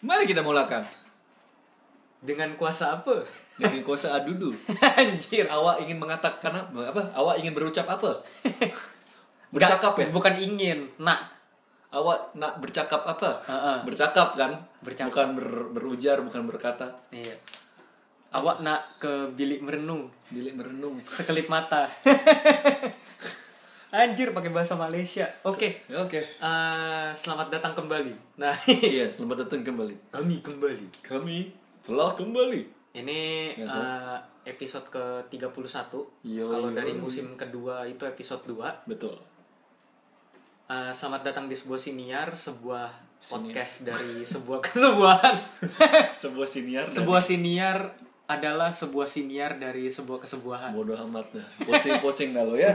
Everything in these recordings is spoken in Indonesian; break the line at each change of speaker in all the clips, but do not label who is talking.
Mari kita mulakan
Dengan kuasa apa?
dengan kuasa adudu.
Anjir.
Awak ingin mengatakan apa? Apa? Awak ingin berucap apa? Bercakap ya?
Nggak, Bukan ingin, nak.
Awak nak bercakap apa?
Heeh.
Bercakap kan?
Bercakap.
Bukan ber- berujar, bukan berkata.
Iya. Awak nak ke bilik merenung,
Bilik merenung.
sekelip mata. Anjir pakai bahasa Malaysia. Oke.
Ya, Oke.
Eh, selamat datang kembali. Nah,
Iya, selamat datang kembali.
kami kembali.
Kami telah kembali.
Ini
Ya,
eh, episode ke-31.
Yo, yo.
Kalau dari musim kedua itu episode 2.
Betul.
Uh, selamat datang di sebuah siniar, sebuah
Siniar.
podcast dari sebuah kesebuahan.
Eh, Sebuah siniar. dan-
sebuah siniar adalah sebuah siniar dari sebuah kesebuahan.
bodoh amat dah. Pusing-pusing dah lo ya.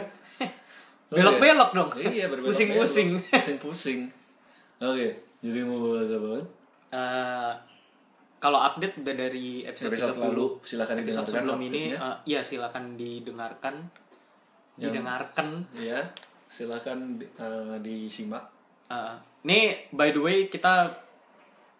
Oke.
Belok-belok dong.
Iya, berbelok-belok.
Pusing-pusing.
Pusing-pusing. Oke, jadi mau bahas apa?
Uh, kalau update udah dari episode,
Episode
30.
lalu, silakan
episode
didengarkan
sebelum ini
update-nya.
uh, ya silakan didengarkan.
Yang-
Didengarkan.
Ya, silakan di- eh, disimak.
Uh, nih by the way kita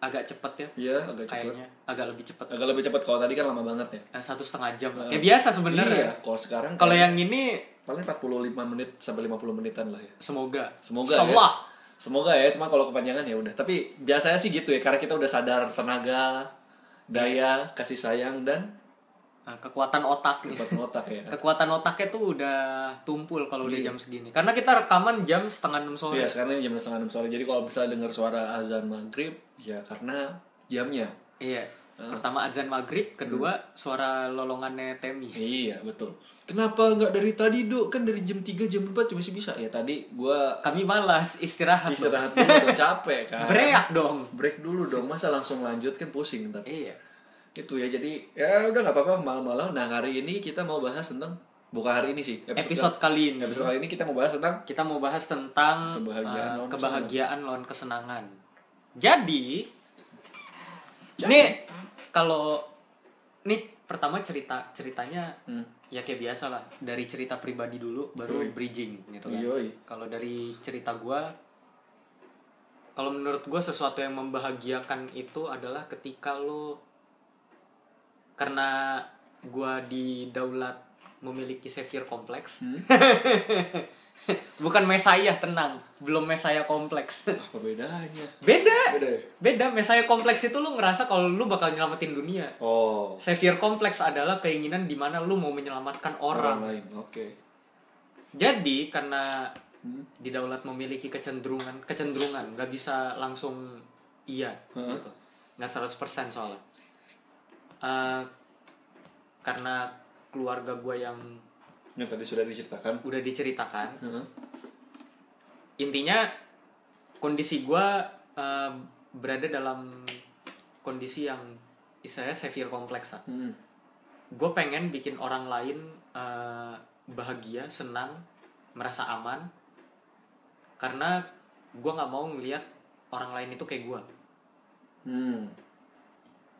agak cepet ya
Ya, agak cepat.
kayaknya, agak lebih cepet.
Agak lebih cepat kalau tadi kan lama banget ya.
Uh, satu setengah jam lah.
Uh,
Kayak biasa sebenarnya.
Iya, kalau sekarang
ya. Kalau
paling-
yang ini
paling 45 menit sampai 50 menitan lah ya.
semoga
Semoga
Insyaallah.
ya. Semoga ya, cuma kalau kepanjangan ya udah. Tapi biasanya sih gitu ya, karena kita udah sadar tenaga, daya, kasih sayang dan
Nah, kekuatan otak nih.
kekuatan otak ya.
kekuatan otaknya tuh udah tumpul kalau udah jam segini karena kita rekaman jam setengah enam sore
Iya, sekarang ini jam setengah enam sore. Jadi kalau misalnya dengar suara azan maghrib, ya karena jamnya.
iya pertama azan maghrib kedua
Hmm.
suara lolongannya temi
Iya, betul. Kenapa nggak dari tadi, Dok? Kan dari jam 3, jam 4 masih bisa. Ya tadi gua
kami malas istirahat dong.
istirahat dulu, udah capek kan.
bereak dong
Break dulu dong, masa langsung lanjut kan pusing ntar.
iya
Itu ya, jadi ya udah nggak apa-apa malam-malam. Nah, hari ini kita mau bahas tentang, bukan hari ini sih,
episode kali ini
Episode kali ini kita mau bahas tentang
kita mau bahas tentang
Kebahagiaan
eh,
lawan
kebahagiaan lawan kesenangan jadi nih
hmm.
kalau nih pertama cerita ceritanya
Hmm.
ya kayak biasa lah dari cerita pribadi dulu baru bridging gitu kan
Yoi.
kalau dari cerita gua kalau menurut gua sesuatu yang membahagiakan itu adalah ketika lo karena gua di daulat memiliki savior kompleks
Hmm.
bukan mesayah tenang belum mesayah kompleks
ah, apa bedanya?
beda
Beda. ya?
beda mesayah kompleks itu lu ngerasa kalau lu bakal nyelamatin dunia
Oh,
savior kompleks adalah keinginan di mana lu mau menyelamatkan
orang
orang
lain. Oke.
Jadi karena
Hmm.
di daulat memiliki kecenderungan kecenderungan nggak bisa langsung iya
Heeh.
gitu. Nggak 100% soalnya. Eh, karena keluarga gue yang
Yang tadi sudah diceritakan.
udah diceritakan,
Heeh.
intinya kondisi gue berada dalam kondisi yang istilahnya severe kompleks lah.
Hmm.
gue pengen bikin orang lain eh, bahagia senang merasa aman karena gue nggak mau ngelihat orang lain itu kayak gue
Hmm.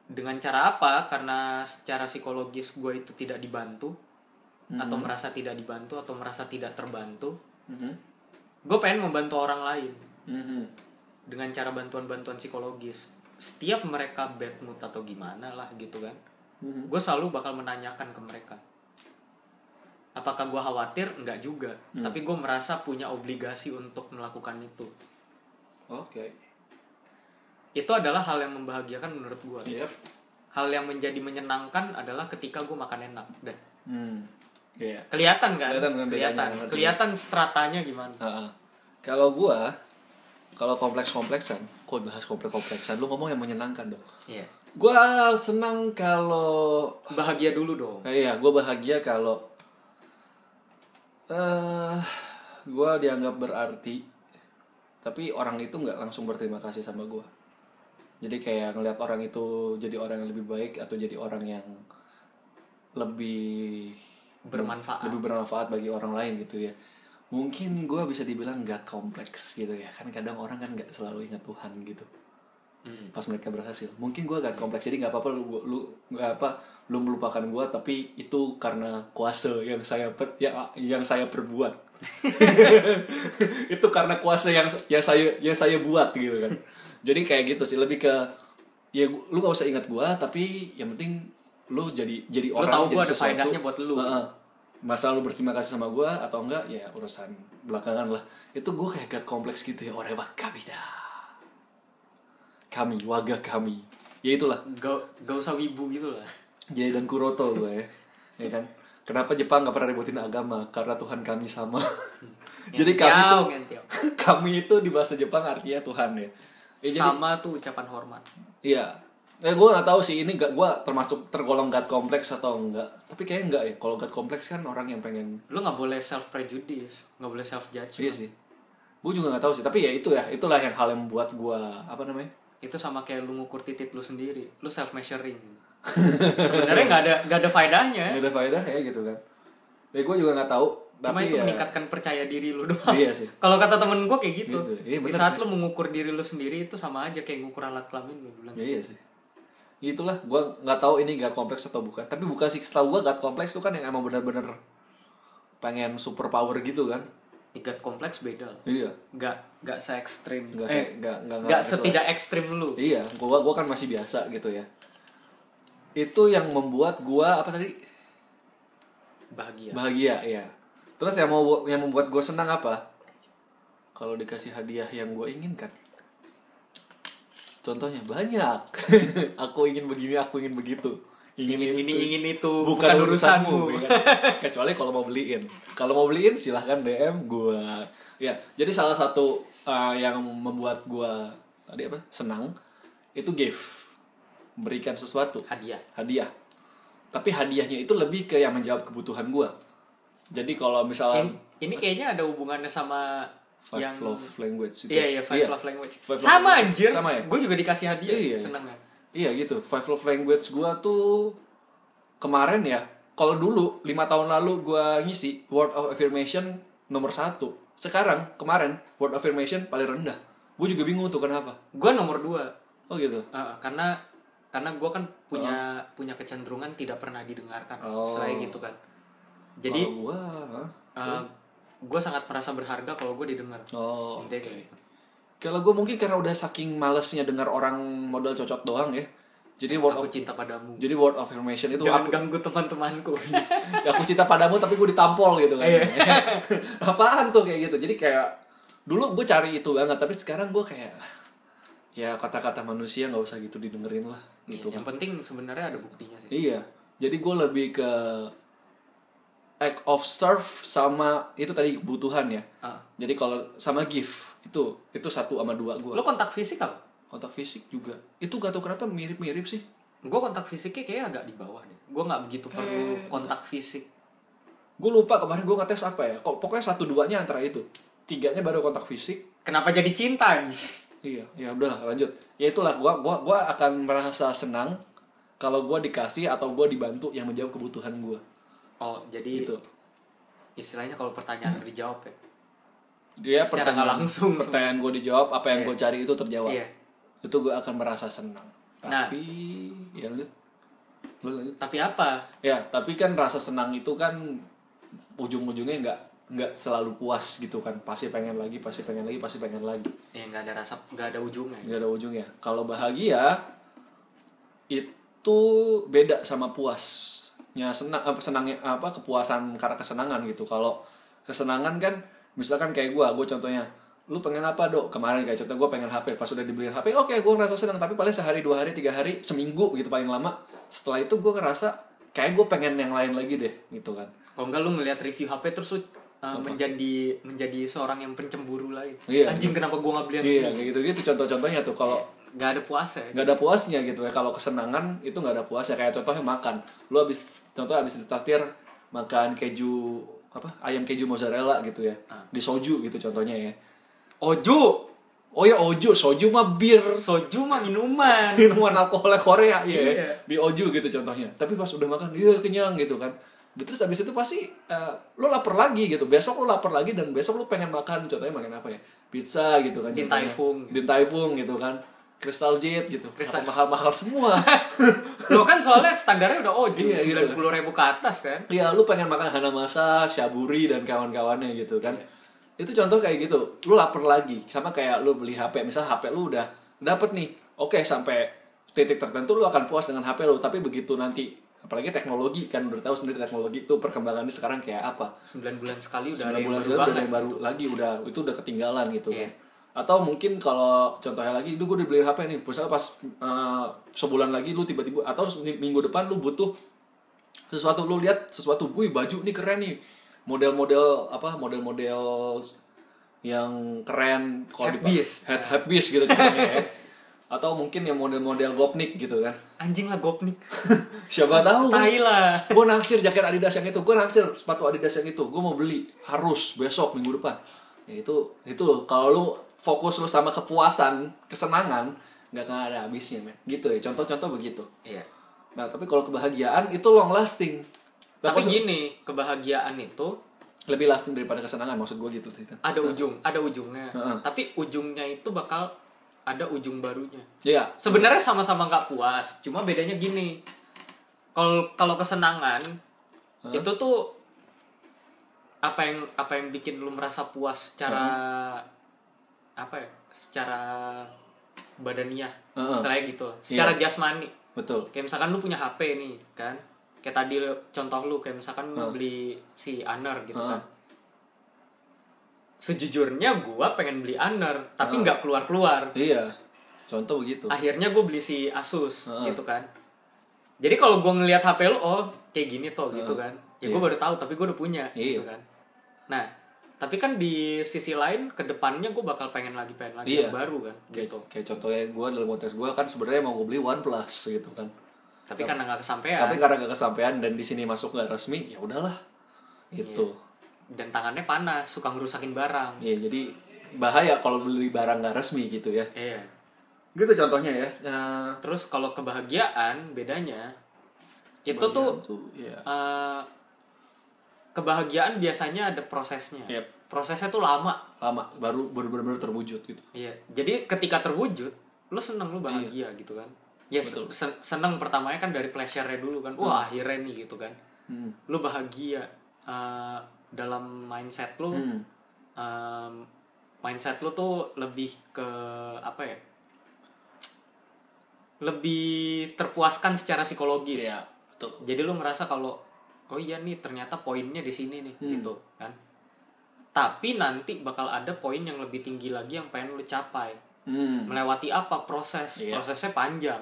dengan cara apa karena secara psikologis gue itu tidak dibantu
Hmm.
atau merasa tidak dibantu atau merasa tidak terbantu
Mhm.
gue pengen membantu orang lain
Mhm.
dengan cara bantuan-bantuan psikologis setiap mereka bad mood atau gimana lah gitu kan
Mhm.
gue selalu bakal menanyakan ke mereka apakah gue khawatir enggak juga
Hmm.
tapi gue merasa punya obligasi untuk melakukan itu
Oke.
itu adalah hal yang membahagiakan menurut gue
Yep.
hal yang menjadi menyenangkan adalah ketika gue makan enak dan
Hmm. Iya.
kelihatan kan
Kelihatan kan bedanya,
kelihatan
ngerti.
Kelihatan stratanya gimana
Heeh. Kalau gua kalau kompleks-kompleksan, kok bahas kompleks-kompleksan, lu ngomong yang menyenangkan dong.
iya
Gua senang kalau
bahagia dulu dong
Nah, iya, gue bahagia kalau eh gue dianggap berarti, tapi orang itu nggak langsung berterima kasih sama gue. Jadi kayak ngeliat orang itu jadi orang yang lebih baik atau jadi orang yang lebih Hmm.
bermanfaat
lebih bermanfaat bagi orang lain gitu ya. Mungkin gue bisa dibilang nggak kompleks gitu ya, kan kadang orang kan nggak selalu ingat Tuhan gitu
Mm.
pas mereka berhasil mungkin gue agak kompleks jadi nggak apa-apa lu lu nggak apa lu melupakan gue tapi itu karena kuasa yang saya per, yang, yang saya perbuat itu karena kuasa yang yang saya yang saya buat gitu kan jadi kayak gitu sih lebih ke ya gu- lu gak usah ingat gua tapi yang penting lu jadi jadi
Lu
orang
tahu
jadi
gua ada faedahnya buat lu.
Heeh. masa lu berterima kasih sama gua atau enggak ya urusan belakangan lah itu gua kayak agak kompleks gitu ya orang kami dah kami waga kami ya itulah
Gak, gak usah wibu gitu lah.
Jay dan Kuroto gue ya. ya kan? Kenapa Jepang nggak pernah ributin agama? Karena Tuhan kami sama. Jadi kami itu
Ngentiau, ngentiau.
kami itu di bahasa Jepang artinya Tuhan ya. Ya, jadi-
Sama tuh ucapan hormat.
Iya. Eh, gue nggak tahu sih ini gak gue termasuk tergolong god kompleks atau enggak. Tapi kayaknya enggak ya. Kalau god kompleks kan orang yang pengen
Lu nggak boleh self prejudice, nggak boleh self judge.
Iya sih. Gue juga nggak tahu sih. Tapi ya itu ya. Itulah yang hal yang membuat gue apa namanya?
Itu sama kayak lu ngukur titik lu sendiri, lu self measuring. Sebenarnya nggak ada nggak ada faedahnya.
Gak ada faedah ya gitu kan. Ya gue juga nggak tahu.
Eh? Cuma
tapi
itu
ya,
meningkatkan percaya diri lu doang.
Iya sih.
Kalau kata temen gue kayak gitu.
Gitu. Iya,
Di
bener
saat lu mengukur diri lu sendiri itu sama aja kayak ngukur alat kelamin lu bilang.
Ya iya sih. Itulah, gue nggak tahu ini gak kompleks atau bukan. Tapi bukan sih, setahu gue gak kompleks tuh kan yang emang bener-bener pengen super power gitu kan.
Tiga kompleks beda. lah.
Iya.
Nggak nggak se ekstrim.
Gak,
eh,
se, gak, gak,
nggak setidak ekstrim lu.
Iya, gua gua kan masih biasa gitu ya. Itu yang membuat gua apa tadi?
Bahagia.
Bahagia, iya. Terus yang mau yang membuat gua senang apa? Kalau dikasih hadiah yang gua inginkan. Contohnya banyak. aku ingin begini, aku ingin begitu. Ingin,
Ingin ini
itu.
ingin itu bukan, urusanmu.
ya kan? kecuali kalau mau beliin kalau mau beliin silahkan dm gua ya jadi salah satu uh, yang membuat gua tadi apa senang itu gift berikan sesuatu
Hadiah.
hadiah tapi hadiahnya itu lebih ke yang menjawab kebutuhan gua jadi kalau misalnya
In- ini kayaknya ada hubungannya sama
five
yang
love language itu
Iya iya five love language.
Five love
sama
language.
anjir.
Sama ya?
Gue juga dikasih hadiah.
Iya.
Seneng kan?
Iya gitu, Five Love Language gua tuh kemarin ya, kalau dulu lima tahun lalu gua ngisi Word of Affirmation nomor satu. Sekarang kemarin Word of Affirmation paling rendah. Gue juga bingung tuh kenapa.
Gue nomor dua.
Oh gitu.
Uh, karena karena gue kan punya punya kecenderungan tidak pernah didengarkan
Oh.
selain gitu kan jadi
Kalau gua, hah?
gue sangat merasa berharga kalau gue didengar
oh oke.
Intinya kayak gitu.
Kalau gue mungkin karena udah saking malesnya dengar orang modal cocok doang ya. Jadi Word of
aku cinta padamu
jadi Word of Affirmation itu aku,
jangan
Iya,
ganggu teman-temanku
aku cinta padamu tapi gue ditampol gitu kan
Iya.
apaan tuh kayak gitu jadi kayak dulu gue cari itu banget tapi sekarang gue kayak ya kata-kata manusia nggak usah gitu didengerin lah gitu
Iya, yang penting sebenarnya ada buktinya sih
iya jadi gue lebih ke act of serve sama itu tadi kebutuhan ya
Ah.
jadi kalau sama gift itu itu satu sama dua gue
lo kontak fisik apa
kontak fisik juga itu gak tau kenapa mirip-mirip sih
gue kontak fisiknya kayaknya agak di bawah deh gue nggak begitu
Eh,
perlu kontak fisik
gue lupa kemarin gue ngetes apa ya kok pokoknya satu duanya antara itu tiganya baru kontak fisik
kenapa jadi cinta anjing?
Iya, ya udahlah lanjut. Ya itulah gua gua gua akan merasa senang kalau gua dikasih atau gua dibantu yang menjawab kebutuhan gua.
oh jadi
Gitu.
istilahnya kalau pertanyaan dijawab ya
Dia
Secara nggak
pertanyaan
langsung.
pertanyaan gua dijawab, apa yang gua cari itu terjawab.
Iya.
Itu gua akan merasa senang.
Nah.
Tapi ya lanjut. Lu lanjut.
tapi apa
Ya, tapi kan rasa senang itu kan ujung-ujungnya nggak nggak selalu puas gitu kan. Pasti pengen lagi, pasti pengen lagi, pasti pengen lagi.
ya nggak ada rasa nggak ada ujungnya
nggak ada ujungnya kalau bahagia itu beda sama puasnya senang apa senangnya apa kepuasan karena kesenangan gitu kalau kesenangan kan misalkan kayak gua gue contohnya lu pengen apa dok kemarin kayak contoh gue pengen HP pas udah dibeliin HP oke gua gue ngerasa senang tapi paling sehari dua hari tiga hari seminggu gitu paling lama setelah itu gue ngerasa kayak gue pengen yang lain lagi deh gitu kan
Kalau enggak lu ngelihat review HP terus lu, uh, menjadi menjadi seorang yang pencemburu lain.
Iya.
Anjing kenapa gua nggak beli yang
iya
ini?
kayak gitu gitu contoh-contohnya tuh kalau
Nggak ada puasa ya.
nggak ada puasnya gitu ya kalau kesenangan itu nggak ada puasnya kayak contohnya makan lu habis contoh habis ditatir makan keju apa ayam keju mozzarella gitu ya
Ah.
di soju gitu contohnya ya
Oju,
oh ya oju soju mah bir
soju mah minuman.
minuman alkoholnya Korea ya
Iya.
di oju gitu contohnya tapi pas udah makan iya kenyang gitu kan terus abis itu pasti eh, lo lapar lagi gitu besok lo lapar lagi dan besok lo pengen makan contohnya makan apa ya pizza gitu kan
Din
contohnya.
Taifung.
din taifung gitu kan Crystal Jet gitu
Crystal-
mahal mahal semua
Lo kan soalnya standarnya udah oju,
Iya, gitu.
90 ribu ke atas kan.
Iya, lu pengen makan hanamasa, shaburi dan kawan-kawannya gitu kan. Itu contoh kayak gitu. Lu lapar lagi, sama kayak lu beli HP, misal HP lu udah dapet nih. Oke, sampai titik tertentu lu akan puas dengan HP lu tapi begitu nanti apalagi teknologi kan udah tahu sendiri teknologi itu perkembangannya sekarang kayak apa
9 bulan sekali udah
sembilan
ada yang
bulan
baru
sekali udah ada
banget. gitu.
yang baru lagi udah itu udah ketinggalan gitu
Iya.
atau mungkin kalau contohnya lagi lu gue dibeli HP nih misalnya pas eh, sebulan lagi lu tiba-tiba atau se- minggu depan lu butuh sesuatu lu lihat sesuatu gue baju nih keren nih model-model apa model-model yang keren kalau dipak-
Headpiece.
head headpiece gitu contohnya ya. atau mungkin yang model-model gopnik gitu kan
Anjing lah gopnik.
siapa tahu kan
Tai lah.
gue naksir jaket Adidas yang itu gue naksir sepatu Adidas yang itu gue mau beli harus besok minggu depan ya itu itu kalau lu fokus lu sama kepuasan kesenangan nggak akan ada habisnya men gitu ya contoh-contoh begitu
Iya.
nah tapi kalau kebahagiaan itu long lasting Nah,
Tapi
maksud-
gini, kebahagiaan itu
lebih lasting daripada kesenangan maksud gue gitu Titan.
ada ujung, ada ujungnya.
Heeh.
Tapi ujungnya itu bakal ada ujung barunya.
iya
Sebenarnya sama-sama nggak puas, cuma bedanya gini. Kalau kalau kesenangan itu tuh apa yang apa yang bikin lu merasa puas secara apa ya? Secara badaniah,
Heeh. Iya.
istilahnya gitu lah. Secara jasmani.
betul
Kayak misalkan lu punya HP nih kan. Kayak tadi lu- contoh lu kayak misalkan lu beli si Aner gitu
Heeh.
kan. Sejujurnya gua pengen beli Aner tapi nggak keluar-keluar.
iya contoh begitu
Akhirnya gua beli si Asus
Heeh.
gitu kan. Jadi kalau gua ngelihat HP lu oh kayak gini toh gitu
Heeh.
kan. Ya gua
Iya.
baru tahu tapi gua udah punya gitu
Iya.
kan. Nah, tapi kan di sisi lain kedepannya gua bakal pengen lagi pengen lagi
Iya.
yang baru kan
kayak,
gitu.
kayak contohnya gue dalam konteks gue kan sebenarnya mau gue beli OnePlus gitu kan
Tapi karena nggak kesampaian
tapi karena gak kesampaian dan di sini masuk nggak resmi ya udahlah gitu
dan tangannya panas suka ngerusakin barang.
Iya, jadi bahaya kalau beli barang nggak resmi gitu ya.
Iya.
Gitu contohnya ya. Eh,
Terus kalau kebahagiaan bedanya itu
kebahagiaan
tuh
tuh ya.
eh, kebahagiaan biasanya ada prosesnya.
Yep.
Prosesnya tuh lama.
Iya, lama baru baru benar terwujud gitu.
Iya. Jadi ketika terwujud, lu seneng lu bahagia gitu kan. Ya
Iya. Betul.
sen- seneng pertamanya kan dari pleasure-nya dulu kan. Wah, akhirnya nih gitu kan.
Hmm.
Lu bahagia eh, dalam mindset lu.
Hmm.
em, mindset lu tuh lebih ke apa ya? Lebih terpuaskan secara psikologis.
Iya, betul.
Jadi lu ngerasa kalau oh iya nih ternyata poinnya di sini nih
Hmm.
gitu kan. Tapi nanti bakal ada poin yang lebih tinggi lagi yang pengen lu capai.
Hmm.
Melewati apa proses?
Iya.
Prosesnya panjang.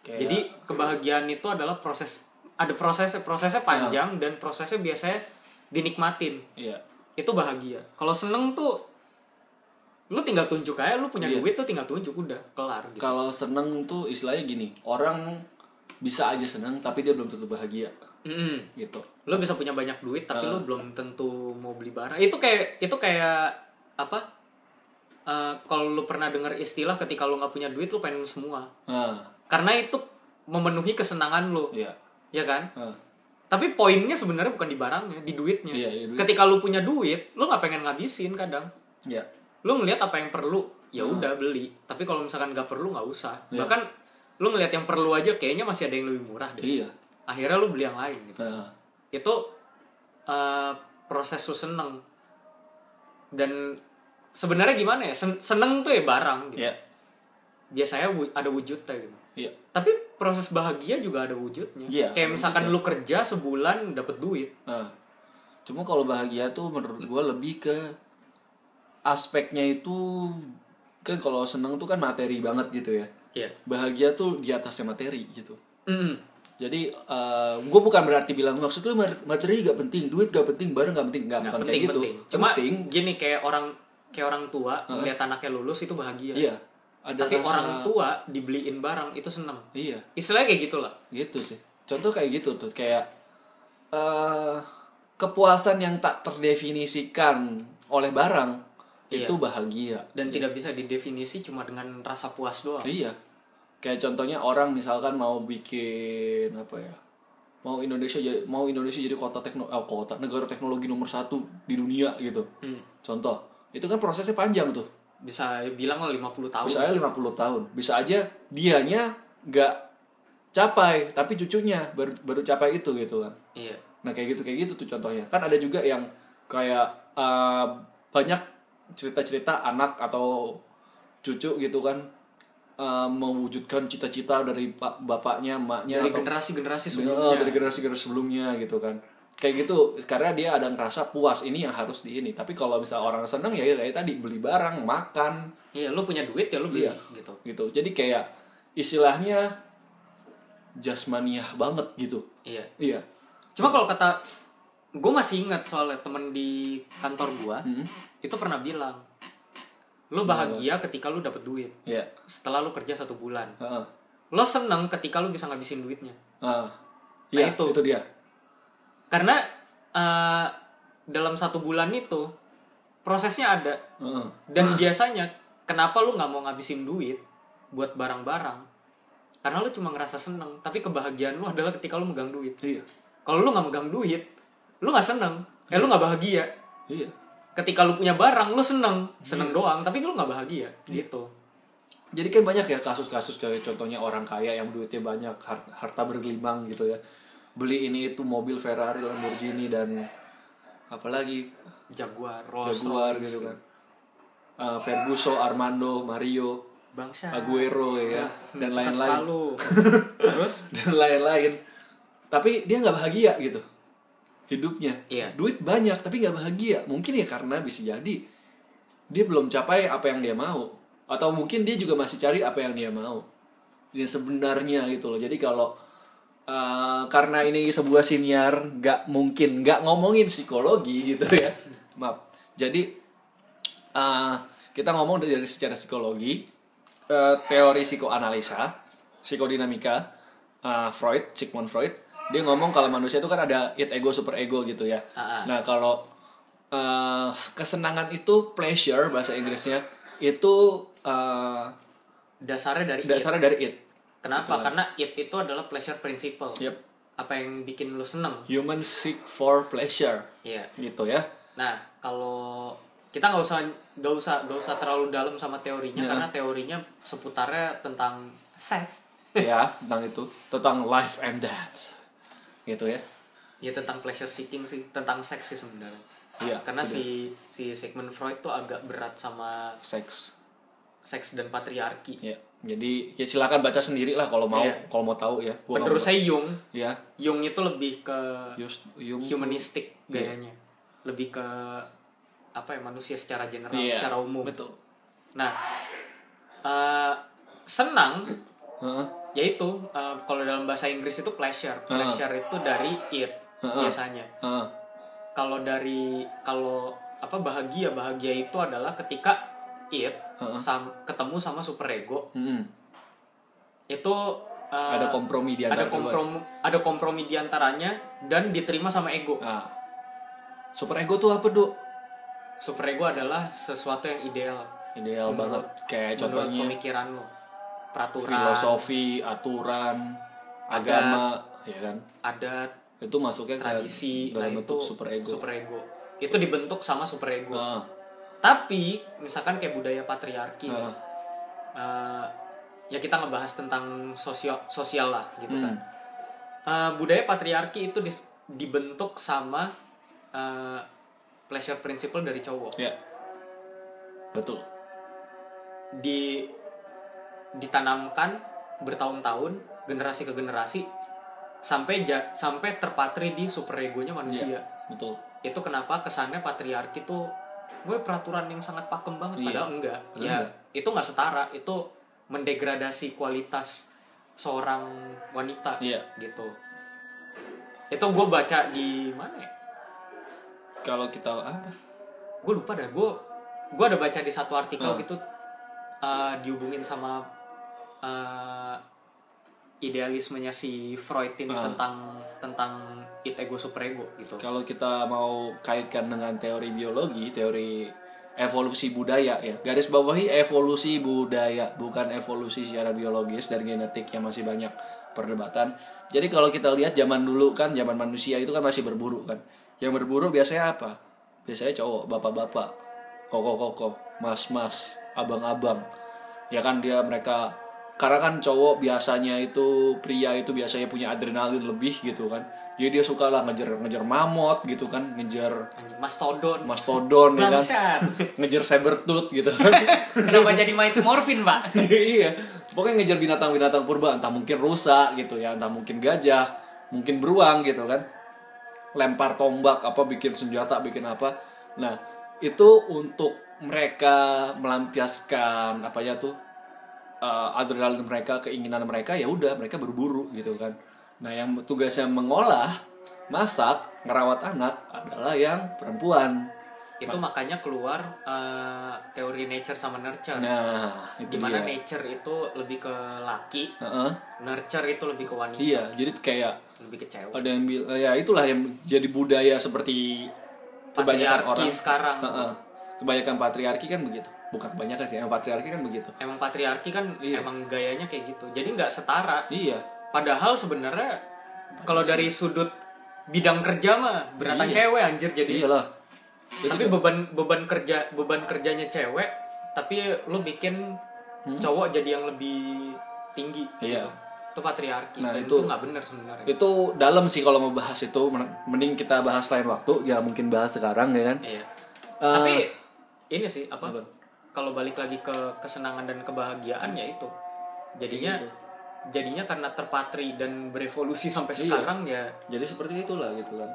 Kayak-
Jadi kebahagiaan itu adalah proses ada prosesnya, prosesnya panjang dan prosesnya biasanya dinikmatin
iya.
itu bahagia kalau seneng tuh lu tinggal tunjuk aja lu punya
Iya.
duit tuh tinggal tunjuk udah kelar gitu
Kalau seneng tuh istilahnya gini, orang bisa aja seneng tapi dia belum tentu bahagia
Mm-mm.
gitu.
lu bisa punya banyak duit tapi
Eh.
lu belum tentu mau beli barang itu kayak itu kayak apa Eh, kalau lu pernah dengar istilah ketika lu nggak punya duit lu pengen semua
Nah,
karena itu memenuhi kesenangan lu
iya.
ya kan
Nah,
tapi poinnya sebenarnya bukan di barangnya di duitnya
Iya, di duit.
ketika lu punya duit lu nggak pengen ngabisin kadang
iya.
lu ngelihat apa yang perlu ya
Hmm.
udah beli tapi kalau misalkan nggak perlu nggak usah
Iya.
bahkan lu ngelihat yang perlu aja kayaknya masih ada yang lebih murah deh
Iya.
akhirnya lu beli yang lain gitu
Nah,
itu eh, proses lu seneng dan sebenarnya gimana ya sen- seneng tuh ya barang gitu
iya.
biasanya wu- ada wujudnya gitu
Iya.
tapi proses bahagia juga ada wujudnya
Iya,
kayak
ada
misalkan lu kerja sebulan dapet duit
Nah, cuma kalau bahagia tuh menurut gue lebih ke aspeknya itu kan kalau seneng tuh kan materi banget gitu ya.
Iya
Bahagia tuh di atasnya materi gitu.
Mm-mm.
Jadi gue bukan berarti bilang maksud lu mar- materi gak penting, duit gak penting, barang gak penting, gak
Nah,
bukan
penting
kayak gitu.
penting cuma
penting,
gini kayak orang kayak orang tua ngeliat anaknya lulus itu bahagia
iya. Ada
tapi
rasa,
orang tua dibeliin barang itu seneng
iya,
istilahnya kayak gitulah
gitu sih. Contoh kayak gitu tuh, kayak eh kepuasan yang tak terdefinisikan oleh barang
Iya.
itu bahagia.
dan tidak bisa didefinisi cuma dengan rasa puas doang
Iya. Kayak contohnya orang misalkan mau bikin apa ya? Mau Indonesia jadi mau Indonesia jadi kota tekno eh, kota negara teknologi nomor satu di dunia gitu.
Hmm.
Contoh, itu kan prosesnya panjang tuh.
bisa bilang lah 50 tahun
Bisa aja 50 tahun. Bisa aja dianya nggak capai, tapi cucunya baru baru capai itu gitu kan.
iya
Nah kayak gitu kayak gitu tuh contohnya. Kan ada juga yang kayak eh, banyak cerita-cerita anak atau cucu gitu kan eh, mewujudkan cita-cita dari pak bapaknya, emaknya Iya,
dari
atau
generasi-generasi
Eh,
sebelumnya
dari generasi generasi sebelumnya gitu kan. Kayak gitu karena dia ada ngerasa puas ini yang harus di ini. Tapi kalau misalnya orang seneng ya kayak tadi beli barang, makan,
iya lu punya duit ya lu beli
Iya.
gitu
gitu jadi kayak istilahnya jasmaniah banget gitu
iya
iya
cuma kalau kata gue masih ingat soalnya temen di kantor gua
Hmm.
itu pernah bilang lu bahagia ketika lu dapet duit
iya
setelah lu kerja satu bulan
Heeh.
lo seneng ketika lu bisa ngabisin duitnya
Ah. iya itu
itu.
itu dia
karena eh, dalam satu bulan itu prosesnya ada
Heeh.
dan biasanya kenapa lu nggak mau ngabisin duit buat barang-barang karena lu cuma ngerasa seneng tapi kebahagiaan lu adalah ketika lu megang duit
iya
kalau lu nggak megang duit lu nggak seneng eh lu nggak bahagia
iya
ketika lu punya barang lu seneng seneng doang tapi lu nggak bahagia gitu
jadi kan banyak ya kasus-kasus kayak contohnya orang kaya yang duitnya banyak har- harta bergelimang gitu ya beli ini itu mobil Ferrari Lamborghini dan apalagi
jaguar Rolls
Jaguar
Royce,
gitu kan Ah, Ferguson Armando Mario
bangsa
Aguero ya dan
Hmm, Suka-suka
lain-lain
lu. terus
dan lain-lain. Tapi dia nggak bahagia gitu hidupnya.
Iya.
Duit banyak tapi nggak bahagia. Mungkin ya karena bisa jadi dia belum capai apa yang dia mau atau mungkin dia juga masih cari apa yang dia mau. Yang sebenarnya gitu loh. Jadi kalau eh, karena ini sebuah siniar nggak mungkin nggak ngomongin psikologi gitu ya. Maaf. Jadi eh, kita ngomong dari secara psikologi, eh, teori psikoanalisa, psikodinamika, eh, Freud, Sigmund Freud, dia ngomong kalau manusia itu kan ada id ego, super ego gitu ya.
Ah, ah.
Nah kalau eh, kesenangan itu pleasure bahasa Inggrisnya itu eh,
dasarnya dari it.
dasarnya dari id.
Kenapa? Karena it itu adalah pleasure principle.
Yep.
Apa yang bikin lu seneng?
Human seek for pleasure
Iya.
gitu ya.
Nah, kalau kita nggak usah nggak usah nggak usah terlalu dalam sama teorinya
Ya.
karena teorinya seputarnya tentang theft.
ya tentang itu tentang life and death gitu ya.
Ya tentang pleasure seeking sih, tentang seks sih sebenarnya.
Iya.
Karena
itu dia.
si si Sigmund Freud tuh agak berat sama
seks
seks dan patriarki.
Ya, jadi ya silakan baca sendiri lah kalau mau,
Iya.
kalau mau tahu ya. Gua nggak
Menurut saya Jung,
mau- ya,
Jung itu lebih ke
Yus- Yung-
humanistik
Iya.
gayanya. Lebih ke apa ya manusia secara general,
Iya,
secara umum.
Betul.
Nah, eh, senang
Heeh.
yaitu eh, kalau dalam bahasa Inggris itu pleasure.
Heeh.
Pleasure itu dari it
Heeh.
biasanya.
heeh.
Kalau dari kalau apa bahagia bahagia itu adalah ketika it
Heeh.
sam- ketemu sama superego
Mm-mm.
itu eh,
Ada kompromi di
ada
antara kedua.
kompromi ada kompromi diantaranya dan diterima sama ego.
Nah, super ego tuh apa, Dok?
Superego adalah sesuatu yang ideal
Ideal banget
Menurut-
kayak
menurut
contohnya
pemikiran lo, peraturan,
filosofi, aturan, agama, ya kan?
adat,
Itu masuknya ke
tradisi
dalam
nah
bentuk
itu
super ego. Ah,
superego. itu dibentuk sama superego
Heeh.
tapi misalkan kayak budaya patriarki
Heeh.
eh, ya kita ngebahas tentang sosial sosial lah gitu kan
Hmm.
Eh, budaya patriarki itu dis- dibentuk sama eh, pleasure principle dari cowok
Ya. Betul.
di ditanamkan bertahun-tahun generasi ke generasi sampai ja- sampai terpatri di superegonya
Iya.
manusia
Betul.
itu kenapa kesannya patriarki tuh gue peraturan yang sangat pakem banget
Iya.
padahal enggak
Padahal
ya
enggak.
itu nggak setara itu mendegradasi kualitas seorang wanita
Iya.
gitu itu gue baca di mana ya?
Kalau kita ah, apa?
gue lupa dah gue gue ada baca di satu artikel
Ah.
gitu eh, dihubungin sama eh, idealismenya si Freud ini
Ah.
tentang tentang it ego superego gitu
Kalau kita mau kaitkan dengan teori biologi, teori evolusi budaya ya. Garis bawahi evolusi budaya, bukan evolusi secara biologis dan genetik yang masih banyak perdebatan. Jadi kalau kita lihat zaman dulu kan zaman manusia itu kan masih berburu kan. Yang berburu biasanya apa? Biasanya cowok, bapak-bapak, koko-koko, mas-mas, abang-abang. Ya kan dia mereka karena kan cowok biasanya itu pria itu biasanya punya adrenalin lebih gitu kan jadi dia suka lah ngejar ngejar mamot gitu kan ngejar
Anjing, mastodon
mastodon ya kan
Bangsat.
ngejar sabertooth gitu kan
Kenapa jadi main morfin, Pak?
iya pokoknya ngejar binatang-binatang purba entah mungkin rusa gitu ya entah mungkin gajah mungkin beruang gitu kan lempar tombak apa bikin senjata bikin apa nah itu untuk mereka melampiaskan apanya tuh eh, adrenalin mereka keinginan mereka ya udah mereka berburu gitu kan nah yang tugasnya mengolah masak ngerawat anak adalah yang perempuan
Itu makanya keluar eh, teori nature sama nurture.
nah itu
Gimana
dia
nature itu lebih ke laki,
Heeh.
nurture itu lebih ke wanita,
iya jadi kayak
lebih ke cewek.
ada yang bilang ya itulah yang jadi budaya seperti kebanyakan
Patriarki
orang
sekarang.
Heeh. kebanyakan patriarki kan begitu bukan kebanyakan sih yang patriarki kan begitu
Emang patriarki kan
Iya.
emang gayanya kayak gitu. Jadi nggak setara.
iya
Padahal sebenarnya kalau dari sudut bidang kerja mah beratan
Iya.
cewek anjir jadi
iyalah Jadi
tapi beban beban kerja beban kerjanya cewek tapi lu bikin cowok jadi yang lebih tinggi
Hmm? Iya.
gitu. itu patriarki
Nah,
Dan
itu-
itu nggak benar sebenarnya
itu dalam sih kalau mau bahas itu men- mending kita bahas lain waktu ya mungkin bahas sekarang ya kan
iya
Eh,
tapi ini sih apa kalau balik lagi ke kesenangan dan kebahagiaan ya itu jadinya
gitu.
jadinya karena terpatri dan berevolusi
Iya.
sampai sekarang ya
jadi seperti itulah gitu kan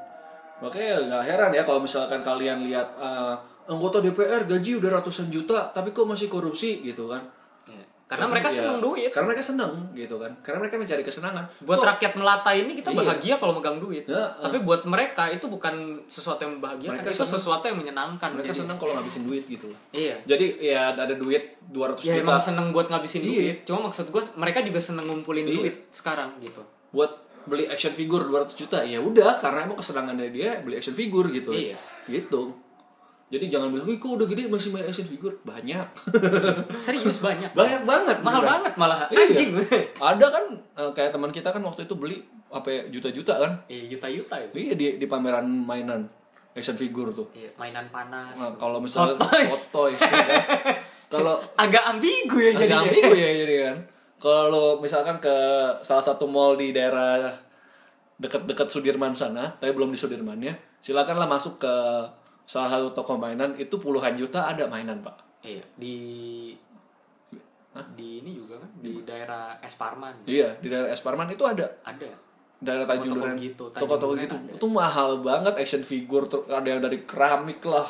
makanya nggak heran ya kalau misalkan kalian lihat eh, anggota DPR gaji udah ratusan juta tapi kok masih korupsi gitu kan
ya. karena mereka
Ya,
seneng duit
karena mereka seneng gitu kan karena mereka mencari kesenangan
buat rakyat melata ini kita bahagia kalau megang duit
Iya. Ya,
tapi buat mereka itu bukan sesuatu yang membahagiakan
Mereka
itu sesuatu yang menyenangkan
mereka
jadi-
senang kalau ngabisin duit gitu loh.
iya
Jadi ya ada duit 200
ya
juta
emang seneng buat ngabisin
Iya.
duit cuma maksud gue mereka juga seneng ngumpulin duit sekarang gitu
buat beli action figure 200 juta ya udah karena emang kesenangannya dia beli action figure gitu.
Iya.
Gitu. Jadi jangan bilang, "Wih, kok udah gede masih main action figure?" Banyak.
serius banyak
Banyak banget.
mahal
beneran.
banget malah
Iya.
anjing
Ada kan eh, kayak teman kita kan waktu itu beli apa ya, juta-juta kan?
iya juta-juta itu
Iya di di pameran mainan action figure tuh.
Iya, mainan panas
Nah, kalau misalnya
Hot toys.
Hot toys ya kan? Kalau
agak ambigu ya
Agak
jadinya
ambigu ya jadi kan. Kalau misalkan ke salah satu mall di daerah deket-deket Sudirman sana, tapi belum di Sudirmannya, silakanlah masuk ke salah satu toko mainan itu puluhan juta ada mainan pak.
iya di di ini juga kan di daerah Esparman
Iya di daerah Esparman itu ada
ada
daerah Tanjung
Toko-toko
Duren
gitu, Tanjung
toko-toko
Duren
gitu
ada.
itu mahal banget action figure ter- ada yang dari keramik lah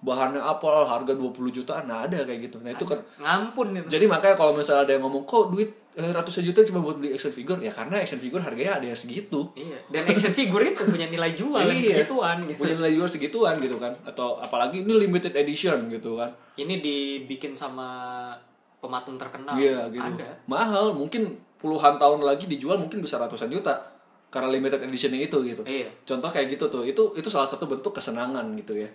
bahannya apa lah, harga 20 jutaan nah ada kayak gitu nah itu kan
ngampun itu
Jadi makanya kalau misalnya ada yang ngomong kok duit eh, ratusan juta cuma buat beli action figure ya karena action figure harganya ada yang segitu.
iya dan action figure itu punya nilai jual yang
Iya.
segituan gitu
Punya nilai jual segituan gitu kan atau apalagi ini limited edition gitu kan.
ini dibikin sama pematung terkenal
Iya gitu.
Ah, ada
Mahal mungkin puluhan tahun lagi dijual mungkin bisa ratusan juta karena limited editionnya itu gitu.
iya
Contoh kayak gitu tuh. Itu itu salah satu bentuk kesenangan gitu ya.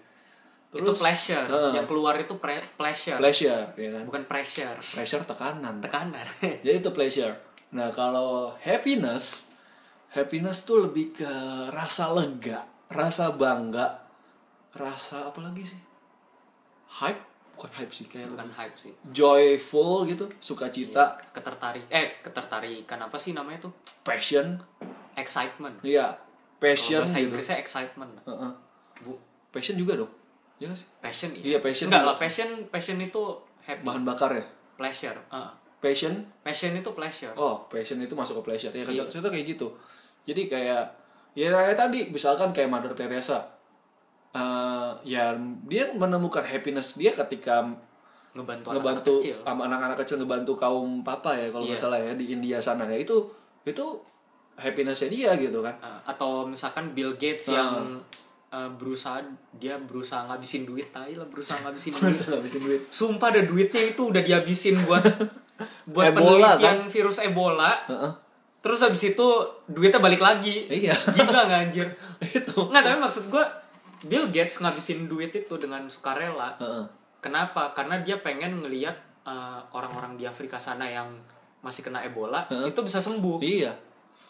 itu pleasure
Heeh.
yang keluar itu pre- pleasure
pleasure ya kan.
bukan pressure
Pleasure tekanan.
tekanan
Jadi itu pleasure. Nah kalau happiness, happiness tuh lebih ke rasa lega, rasa bangga, rasa apa lagi sih? Hype? Bukan hype sih, kayak
bukan hype sih
joyful gitu,
Iya.
sukacita,
ketertarik eh ketertarikan apa sih namanya tuh
passion,
excitement
iya,
Kalau
passion,
bahasa
gitu.
Inggrisnya excitement
Heeh.
bu
passion juga dong, ya nggak sih?
passion
Iya, passion
enggak
juga.
lah passion passion itu happy
Bahan bakar ya,
pleasure Heeh.
passion,
passion itu pleasure
oh passion itu masuk ke pleasure ya kan?
Iya.
Contoh kayak gitu. Jadi kayak ya kayak tadi misalkan kayak Mother Teresa, Eh, ya dia menemukan happiness dia ketika
ngebantu anak
ngebantu
kecil
sama anak-anak kecil ngebantu kaum papa ya kalau nggak
Iya.
salah ya di India sana ya itu itu happinessnya dia gitu kan
Heeh. Eh, atau misalkan Bill Gates
Heeh.
yang
Ah.
eh, berusaha dia berusaha ngabisin duit tai lah berusaha ngabisin duit
masa ngabisin duit
sumpah ada duitnya itu udah dihabisin buat buat
Ebola, kan?
penelitian virus Ebola
Heeh.
terus habis itu duitnya balik lagi
Iya.
gila nggak anjir
itu
nggak tapi maksud gue Bill Gates ngabisin duit itu dengan sukarela
Heeh.
kenapa karena dia pengen ngelihat eh, orang-orang di Afrika sana yang masih kena Ebola itu bisa sembuh
iya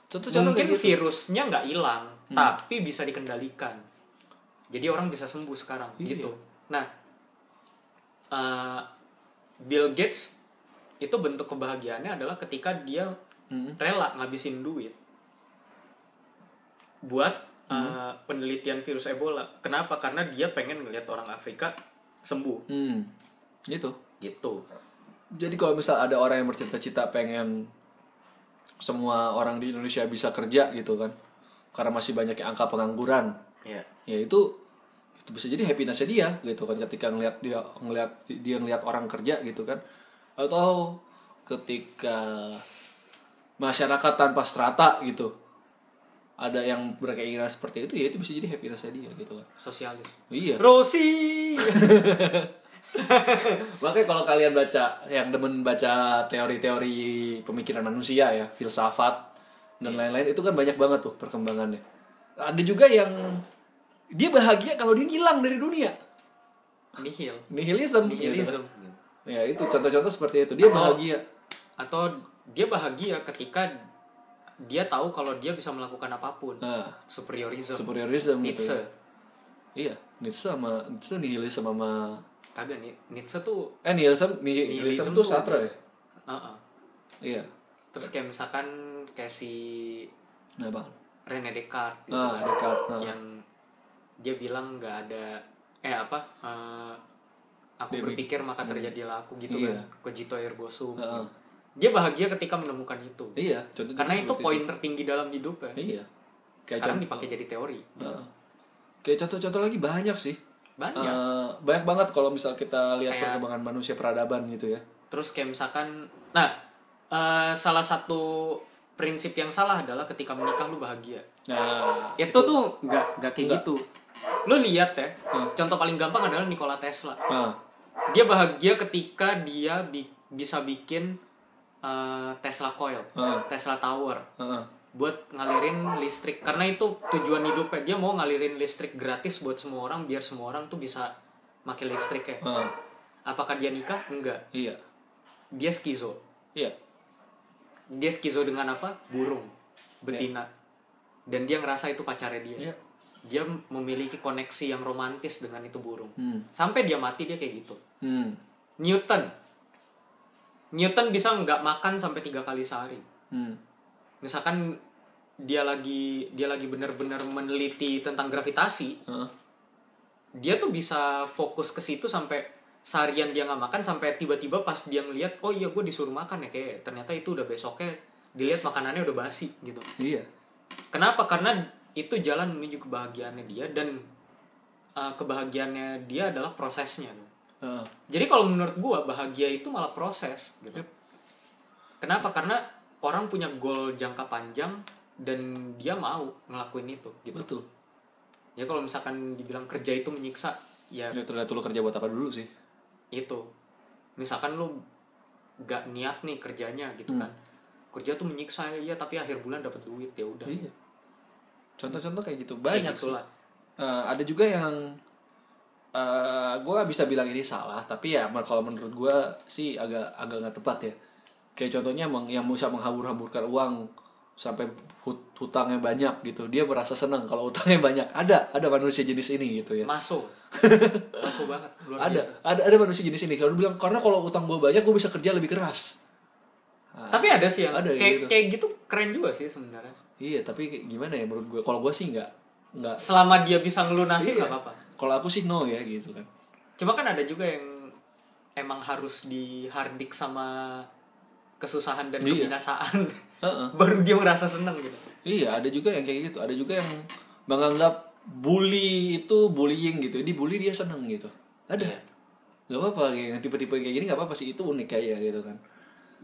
contoh-contoh
mungkin
kayak gitu Hmm.
virusnya nggak hilang tapi bisa dikendalikan jadi orang bisa sembuh sekarang
Iya.
gitu nah eh, Bill Gates itu bentuk kebahagiaannya adalah ketika dia
Hmm.
rela ngabisin duit buat
Hmm.
eh, penelitian virus Ebola. Kenapa? Karena dia pengen ngelihat orang Afrika sembuh
Hmm. Gitu.
gitu.
Jadi kalau misal ada orang yang bercita-cita pengen semua orang di Indonesia bisa kerja gitu kan. Karena masih banyak yang angka pengangguran.
Ya.
Ya itu itu bisa jadi happinessnya dia gitu kan ketika ngelihat dia ngelihat dia ngelihat orang kerja gitu kan. Atau ketika masyarakat tanpa strata gitu. Ada yang berkeinginan seperti itu ya itu bisa jadi happinessnya dia gitu kan.
Sosialis.
Iya.
Rosi.
Makanya kalau kalian baca yang demen baca teori-teori pemikiran manusia ya, filsafat dan lain-lain itu kan banyak banget tuh perkembangannya. Ada juga yang dia bahagia kalau dia hilang dari dunia.
Nihil.
Nihilism. gitu.
Nihilism.
Ya itu contoh-contoh seperti itu. Dia bahagia.
Atau dia bahagia ketika dia tahu kalau dia bisa melakukan apapun.
Nah,
Superiorism.
superiorism gitu.
Nietzsche.
Iya, Nietzsche sama Nietzsche nihilism sama
Kagak nih. Nietzsche tuh
eh nihilism nihilism,
Nihilism
tuh
tuh-
sastra ya.
uh-uh.
Iya.
Terus kayak misalkan kayak si
Nah, Bang.
Rene Descartes gitu
Ah,
kan.
dekat. Nah.
yang dia bilang nggak ada eh apa eh, aku berpikir maka terjadilah aku gitu
Hmm. Iya.
kan cogito ergo sum gitu.
Heeh.
dia bahagia ketika menemukan itu
Iya, contoh
karena itu poin tertinggi dalam hidupnya
Iya.
sekarang dipakai jadi teori
Heeh. Kayak contoh-contoh lagi banyak sih.
banyak
Eh, banyak banget kalau misal kita lihat
Kayak-
perkembangan manusia peradaban gitu ya.
terus kayak misalkan nah eh, salah satu prinsip yang salah adalah ketika menikah lu bahagia
Nah,
Ah, itu tuh nggak nggak kayak gitu lu lihat ya contoh paling gampang adalah Nikola Tesla
nah,
dia bahagia ketika dia bi- bisa bikin uh, Tesla coil,
Heeh.
Tesla tower
heeh.
buat ngalirin listrik karena itu tujuan hidupnya dia mau ngalirin listrik gratis buat semua orang biar semua orang tuh bisa pakai listrik ya.
heeh.
Apakah dia nikah? Enggak.
iya.
Dia skizo.
Iya.
Dia skizo dengan apa? Burung, betina. Dan dia ngerasa itu pacarnya dia.
Iya.
Dia memiliki koneksi yang romantis dengan itu burung.
Hmm.
Sampai dia mati dia kayak gitu.
Hmm.
Newton. Newton bisa nggak makan sampai tiga kali sehari.
Hmm.
Misalkan dia lagi dia lagi benar-benar meneliti tentang gravitasi,
Heeh.
dia tuh bisa fokus ke situ sampai seharian dia nggak makan sampai tiba-tiba pas dia ngeliat oh iya gue disuruh makan ya kayak ternyata itu udah besoknya dilihat makanannya udah basi gitu.
Iya.
Kenapa? Karena itu jalan menuju kebahagiaannya dia dan uh, kebahagiaannya dia adalah prosesnya.
Heeh.
Jadi kalau menurut gua bahagia itu malah proses gitu. Kenapa? Karena orang punya goal jangka panjang dan dia mau ngelakuin itu gitu.
Betul.
Ya kalau misalkan dibilang kerja itu menyiksa, ya
Ya terlihat lu kerja buat apa dulu sih?
itu. Misalkan lu gak niat nih kerjanya gitu
Hmm.
kan. Kerja tuh menyiksa ya tapi akhir bulan dapat duit ya udah.
Iya. Contoh-contoh kayak gitu
Kayak
banyak sih.
gitulah.
Eh, ada juga yang eh gue bisa bilang ini salah tapi ya men- kalau menurut gue sih agak agak nggak tepat ya kayak contohnya meng- yang bisa menghambur-hamburkan uang sampai hut- hutangnya banyak gitu dia merasa senang kalau hutangnya banyak ada ada manusia jenis ini gitu ya
Masuk. Masuk banget. Luar
ada
biasa.
ada ada manusia jenis ini kalau dia bilang karena kalau hutang gue banyak gue bisa kerja lebih keras
Tapi ada sih yang
Ada ya
kayak
gitu.
kayak gitu keren juga sih sebenarnya.
iya tapi kayak gimana ya menurut gue kalau gue sih nggak nggak
Selama dia bisa
Iya.
ngelunasin nggak apa-apa.
kalau aku sih no ya gitu kan
Cuma kan ada juga yang emang harus dihardik sama kesusahan dan
Iya.
kebinasaan.
Heeh.
Baru dia merasa seneng gitu.
Iya, ada juga yang kayak gitu. Ada juga yang menganggap bully itu bullying gitu. Jadi bully dia seneng gitu. Ada.
Iya.
Gak apa-apa kayak yang tipe-tipe kayak gini gak apa-apa sih. Itu unik kayak gitu kan.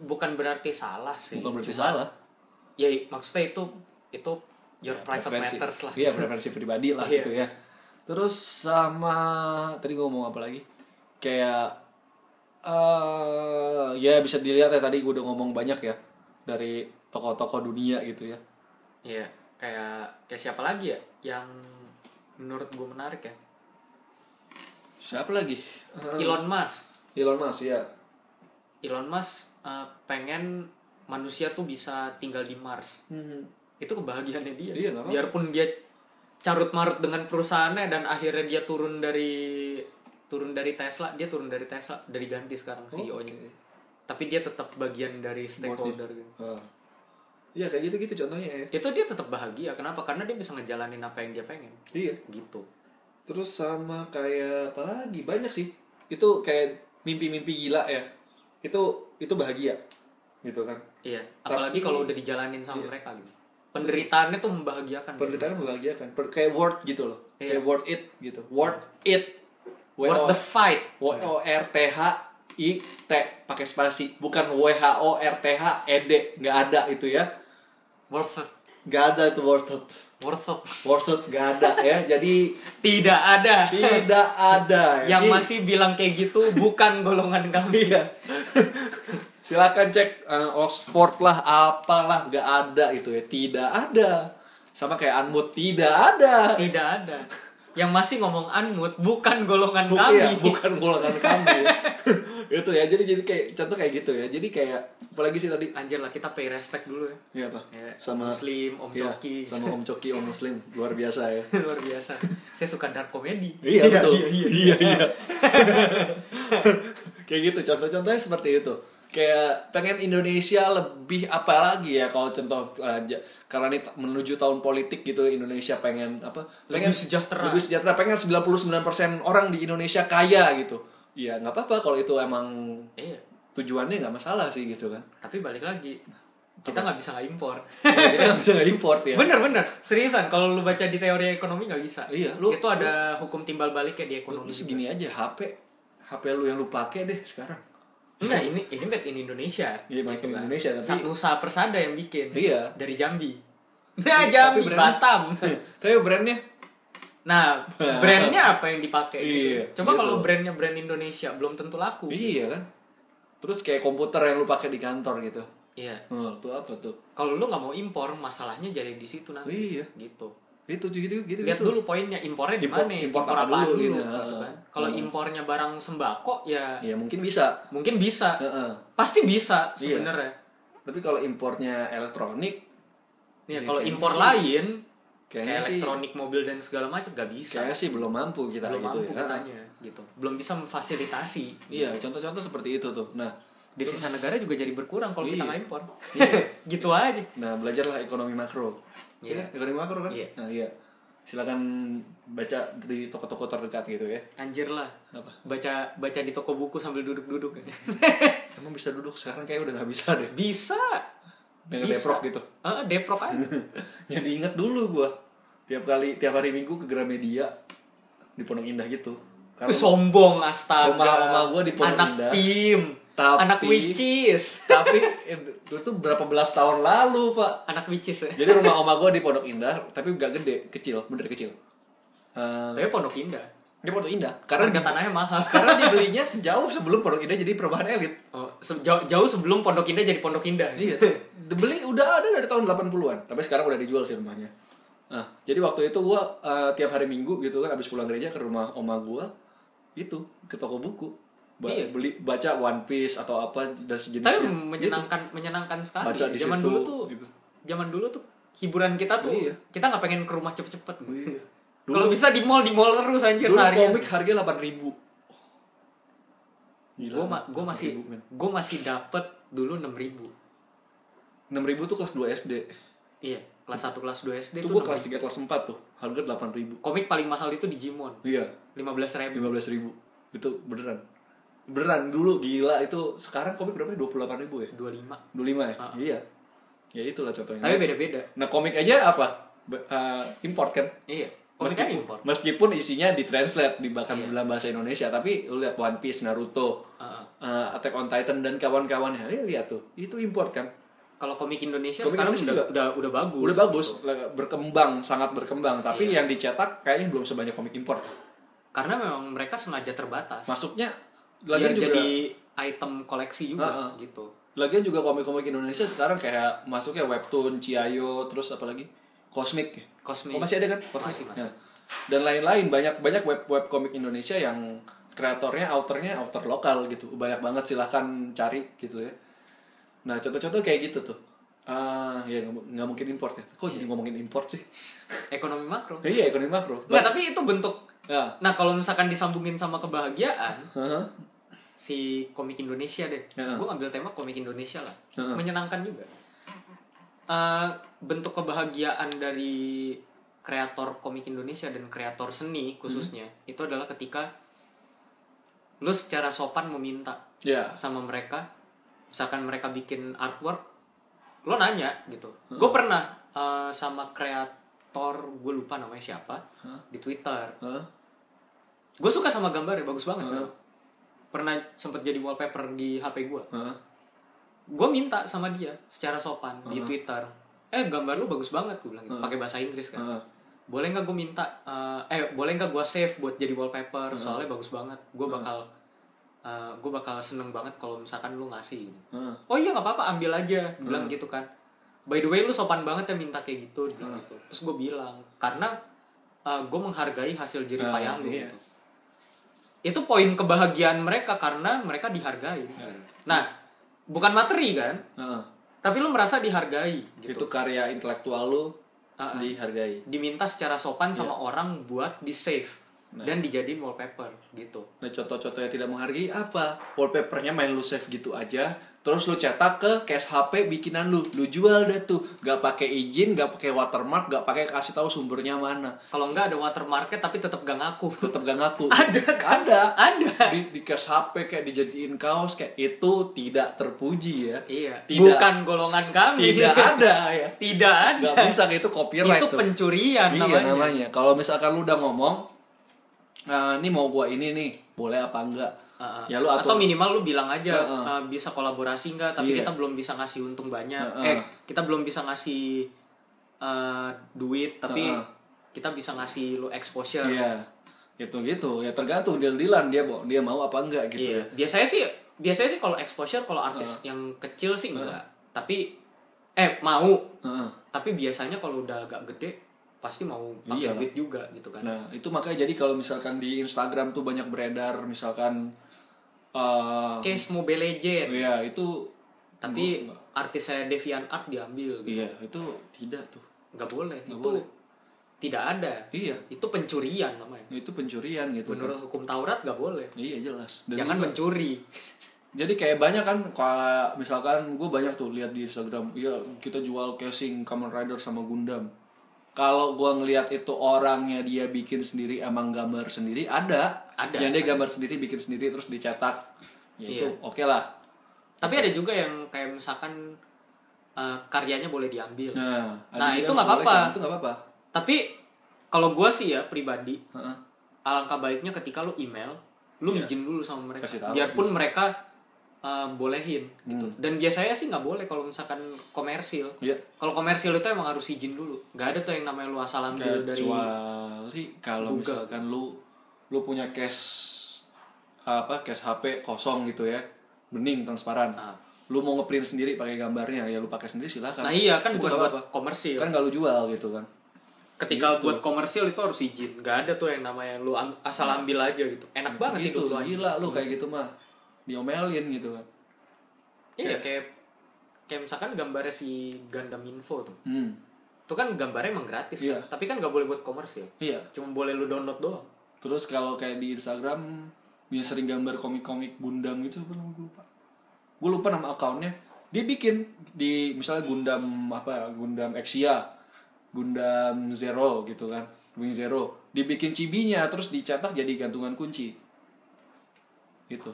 Bukan berarti salah sih.
Bukan berarti salah. Ya,
Ya maksudnya itu itu your private
Preferensi.
matters lah.
Iya, preferensi pribadi lah
Iya.
gitu ya. Terus sama tadi gue ngomong apa lagi? Kayak eh ya bisa dilihat ya tadi gue udah ngomong banyak ya dari tokoh-tokoh dunia gitu ya.
Iya. Kayak kayak siapa lagi ya yang menurut gue menarik ya?
Siapa lagi?
Elon Musk.
Elon Musk ya.
Elon Musk eh, pengen manusia tuh bisa tinggal di Mars. itu kebahagiaannya dia.
Iya, nggak apa-apa.
Biarpun dia carut marut dengan perusahaannya dan akhirnya dia turun dari turun dari Tesla, dia turun dari Tesla, dari ganti sekarang CEO-nya.
Oke.
tapi dia tetap bagian dari stakeholder gitu.
Heeh. Ah. Iya kayak gitu-gitu contohnya ya.
itu dia tetap bahagia kenapa karena dia bisa ngejalanin apa yang dia pengen
Iya.
gitu
Terus sama kayak apa lagi banyak sih. Itu kayak mimpi-mimpi gila ya. Itu itu bahagia. Gitu kan.
iya apalagi kalau udah dijalanin
iya.
sama mereka gitu penderitaannya tuh membahagiakan gitu.
Penderitanya membahagiakan. Per- kayak worth gitu loh.
Iya.
Kayak worth it gitu. Worth it.
worth the fight
W O R T H I T pakai spasi, bukan W H O R T H E D. Enggak ada itu ya.
worth it
Enggak ada itu worth it.
worth it
Worth it enggak ada ya. Jadi
tidak ada
tidak ada.
yang
Jadi-
masih bilang kayak gitu bukan golongan kami
Iya. Silakan cek eh, Oxford lah, apalah nggak ada itu ya. Tidak ada. Sama kayak Anmut tidak ada.
tidak ada yang masih ngomong anmut bukan golongan
Bu-
kami
iya, bukan golongan kami. itu ya. Jadi jadi kayak contoh kayak gitu ya. Jadi kayak apalagi sih tadi?
anjir lah kita pay respect dulu ya
Iya, Pak.
Ya,
Sama
muslim om
Iya,
coki
sama Om Coki, Om Muslim. Luar biasa ya.
luar biasa saya suka dark comedy
Iya betul.
iya, iya.
iya. Kayak gitu contoh-contohnya seperti itu. Kayak pengen Indonesia lebih apa lagi ya kalau contoh eh, ja- karena ini ta- menuju tahun politik gitu Indonesia pengen apa? Pengen
Lebih sejahtera.
Lebih sejahtera. Pengen 99% orang di Indonesia kaya gitu. Iya, nggak apa-apa kalau itu emang
Iya.
tujuannya nggak masalah sih gitu kan.
tapi balik lagi kita nggak bisa nggak impor
Ya, kita nggak bisa nggak import ya.
bener bener seriusan kalau lu baca di teori ekonomi nggak bisa
Iya, lu-
itu ada hukum timbal baliknya di ekonomi
Terus gini aja HP HP lu yang lu pakai deh sekarang.
Nah ini ini made in Indonesia. gitu kan.
Iya, made in Indonesia, tapi-
satu usaha persada yang bikin.
Iya.
Dari Jambi. Nah Jambi
brandnya-
Batam.
Tapi brandnya
Nah brandnya apa yang dipakai? gitu.
Iya,
Coba
gitu.
kalau brandnya brand Indonesia belum tentu laku.
Iya kan. Terus kayak komputer yang lu pakai di kantor gitu.
Iya.
Hmm, tuh apa tuh?
Kalau lu nggak mau impor, masalahnya jadi di situ nanti.
Iya.
Gitu.
Itu tuh gitu gitu.
Lihat
gitu.
dulu poinnya impornya di
Impor-
mana?
impor apa
apaan
dulu, gitu.
kan. Kalau
Hmm.
impornya barang sembako ya
Ya mungkin bisa.
mungkin bisa.
Heeh.
Pasti bisa
Iya.
sebenarnya.
Tapi kalau importnya elektronik
Iya,
Iya,
kalau
kayaknya
impor
sih.
lain
Kayaknya
kayak
sih-
elektronik mobil dan segala macam gak bisa.
kayaknya sih belum mampu kita
belum
gitu
mampu
ya.
katanya gitu. Belum bisa memfasilitasi.
Iya, contoh-contoh seperti itu tuh. Nah,
Devisa negara juga jadi berkurang kalau kita
Iya.
nggak impor. gitu aja.
nah belajarlah ekonomi makro.
Iya.
Iya, kan? ekonomi makro kan?
Iya.
Nah, iya. Silakan baca di toko-toko terdekat gitu ya.
Anjir lah.
Apa?
Baca baca di toko buku sambil duduk-duduk.
Emang bisa duduk sekarang kayak udah nggak bisa deh.
bisa.
Dengan
Bisa.
deprok gitu.
Heeh, deprok aja.
Jadi inget dulu gua tiap kali tiap hari minggu ke Gramedia di Pondok Indah gitu. Karena
Sombong astaga.
Oma-oma gua di Pondok
Anak
Indah.
tim.
Tapi-
Anak witches.
tapi eh, itu berapa belas tahun lalu pak.
Anak witches ya.
Jadi rumah oma gua di Pondok Indah tapi gak gede kecil bener kecil. Eh,
Tapi Pondok Indah.
di Pondok Indah karena
Karena
di-
tanahnya mahal.
karena dibelinya jauh sebelum Pondok Indah jadi perumahan elit.
Oh, se- jauh, jauh sebelum Pondok Indah jadi Pondok Indah.
Iya. Dibeli udah ada dari tahun 80-an, tapi sekarang udah dijual sih rumahnya. Nah, jadi waktu itu gua eh, tiap hari Minggu gitu kan abis pulang gereja ke rumah oma gua itu ke toko buku. Ba-
Iya.
beli baca One Piece atau apa dan sejenisnya.
Tapi menyenangkan menyenangkan sekali.
Baca di
zaman
situ,
dulu tuh
gitu.
zaman dulu tuh hiburan kita tuh
Iya.
kita nggak pengen ke rumah cepet-cepet.
Gitu. Iya. Dulu,
Kalau bisa di mall di mall terus anjir
Gitu. dulu
seharian.
komik harganya 8000. Gila.
Gue gue masih
8.000, men.
gue masih dapet dulu 6000
6.000 tuh kelas 2 SD.
Iya kelas 1 kelas 2 SD
Itu
tuh
gua kelas 3 kelas 4 tuh, harga 8000.
6.000. Komik paling mahal itu di Jimon
Iya.
15 ribu.
15.000 Itu beneran. Beneran dulu gila itu sekarang komik berapa? 28.000 ya?
25
25 ya?
Ah.
Iya. Ya itulah contohnya.
Tapi beda-beda.
Nah, komik aja apa? Be- eh, import kan?
Iya. Komik kan impor.
meskipun isinya ditranslate di bahkan
Iya. Ah.
dalam bahasa Indonesia, tapi lu lihat One Piece, Naruto,
Heeh.
eh, Attack on Titan dan kawan-kawannya, ya, lihat tuh, itu import kan?
Kalau komik Indonesia
Komik
sekarang
Indonesia
udah,
juga.
udah udah bagus. Iya.
Udah bagus, berkembang, sangat berkembang, tapi yang dicetak kayaknya belum sebanyak komik import.
Karena memang mereka sengaja terbatas.
Masuknya
Biar
lagi juga
Iya, jadi item koleksi juga
Heeh.
gitu.
Lagian juga komik-komik Indonesia sekarang kayak masuknya webtoon, ciayo, terus apalagi Cosmic.
Cosmic.
Oh, masih ada kan? Cosmic.
Masih, masih.
Nah, Dan lain-lain banyak banyak web web komik Indonesia yang kreatornya autornya author lokal gitu. Banyak banget silahkan cari gitu ya. Nah, contoh-contoh kayak gitu tuh. Ah, ya nggak mu- nggak mungkin import ya. Kok
Iya.
jadi ngomongin import sih?
Ekonomi makro.
Nah, iya, ekonomi makro.
Nggak, tapi itu bentuk.
Ya.
Nah, kalau misalkan disambungin sama kebahagiaan,
Heeh.
si komik Indonesia deh
Heeh.
gue ngambil tema komik Indonesia lah
Heeh.
menyenangkan juga Eh, bentuk kebahagiaan dari kreator komik Indonesia dan kreator seni khususnya
Hmm.
itu adalah ketika lu secara sopan meminta
ya
sama mereka misalkan mereka bikin artwork lo nanya gitu gue pernah eh, sama kreator gue lupa namanya siapa di Twitter
Hah?
gue suka sama gambarnya bagus banget kan? pernah sempet jadi wallpaper di HP gue
Hah?
gue minta sama dia secara sopan di Twitter eh gambar lu bagus banget gue bilang gitu pakai bahasa Inggris kan
Hah?
boleh nggak gue minta eh, eh boleh nggak gue save buat jadi wallpaper soalnya bagus banget gue bakal gue bakal seneng banget kalau misalkan lu ngasih gitu.
Hah?
oh iya nggak apa-apa ambil aja
Hmm.
Dia bilang gitu kan by the way lu sopan banget ya minta kayak gitu dia
Hmm.
bilang gitu terus gue bilang karena gue menghargai hasil jerih
Ah,
payah lu
iya.
gitu. itu poin kebahagiaan mereka karena mereka dihargai
Iya.
nah bukan materi kan
Hah?
tapi lu merasa dihargai gitu
itu karya intelektual lu
Ah, ah.
dihargai
diminta secara sopan sama
Iya.
orang buat di save dan dijadiin wallpaper gitu
nah contoh-contoh yang tidak menghargai apa wallpapernya main lu save gitu aja terus lu cetak ke case HP bikinan lu lu jual dah tuh gak pakai izin gak pakai watermark gak pakai kasih tahu sumbernya mana
kalau enggak ada watermarknya tapi tetap gak ngaku
tetap gak ngaku
Ada, kan?
ada
ada
di, di case HP kayak dijadiin kaos kayak itu tidak terpuji ya
iya
Tidak.
bukan golongan kami
tidak ada ya
tidak ada
nggak bisa itu copyright
itu
tuh.
pencurian
Iya,
namanya.
namanya. Kalau misalkan lu udah ngomong, "Eh, ini mau gua ini nih, boleh apa enggak?
Uh, uh.
Ya lu
atau
atur.
minimal lu bilang aja
Uh, uh.
uh, bisa kolaborasi nggak tapi
Iya.
kita belum bisa ngasih untung banyak
Uh, uh.
eh kita belum bisa ngasih uh, duit tapi
Uh, uh.
kita bisa ngasih lu exposure
Iya. Gitu gitu. Ya tergantung deal-dealan dia mau dia mau apa enggak gitu
Iya.
ya.
Biasanya sih biasanya sih kalau exposure kalau artis yang kecil sih enggak. Tapi eh mau,
Heeh.
tapi biasanya kalau udah agak gede pasti mau
Iya
pakai
lah.
duit juga gitu kan.
Nah, itu makanya jadi kalau misalkan di Instagram tuh banyak beredar misalkan eh
Case Mobile Legend,
ya itu
tapi artis saya Devian Art diambil gitu.
iya, itu tidak tuh.
Enggak boleh.
Nggak
itu
boleh.
tidak ada.
Iya,
Itu pencurian namanya.
itu pencurian gitu.
Menurut hukum Taurat nggak boleh.
Iya, jelas. Dan
Jangan
juga-
mencuri.
Jadi kayak banyak kan kalau misalkan gue banyak tuh lihat di Instagram, ya kita jual casing Kamen Rider sama Gundam. Kalau gue ngelihat itu orangnya dia bikin sendiri emang gambar sendiri ada.
Ada.
Yang dia gambar sendiri bikin sendiri terus dicetak. Ya itu
Iya.
oke lah.
Tapi ada juga yang kayak misalkan eh, karyanya boleh diambil.
Nah, ada
Nah,
juga
itu
yang
nggak
boleh
apa-apa.
kan, Itu nggak apa-apa.
Tapi kalau gua sih ya pribadi
Heeh.
alangkah baiknya ketika lu email lu izin dulu sama
Ya.
mereka
Kasih tahu. Hmm.
biarpun mereka uh, bolehin gitu dan biasanya sih nggak boleh kalau misalkan komersil
Iya.
kalau komersil itu emang harus izin dulu nggak ada tuh yang namanya lu asal ambil dari
Kecuali kalau
Google.
misalkan lu lu punya case apa case HP kosong gitu ya, bening transparan.
Ah.
Lu mau ngeprint sendiri pakai gambarnya ya lu pakai sendiri silakan.
nah iya kan
Itu
bukan
nggak
buat
apa-apa.
komersil
kan nggak lu jual gitu kan
ketika
Gitu.
buat komersil itu harus izin nggak ada tuh yang namanya lu am- asal ambil aja gitu enak banget
Iya.
Iya.
gitu
hidup lu aja.
gila lu kayak gitu mah diomelin gitu kan
iya kayak kayak misalkan gambarnya si Gundam Info tuh
hmm
itu kan gambarnya emang gratis
Iya.
kan tapi kan nggak boleh buat komersil
iya
cuma boleh lu download doang
terus kalau kayak di Instagram dia sering gambar komik-komik Gundam gitu apa namanya gue lupa gue lupa nama akunnya dia bikin di misalnya Gundam apa ya, Gundam Exia Gundam Zero gitu kan Wing Zero dibikin cibinya terus dicetak jadi gantungan kunci gitu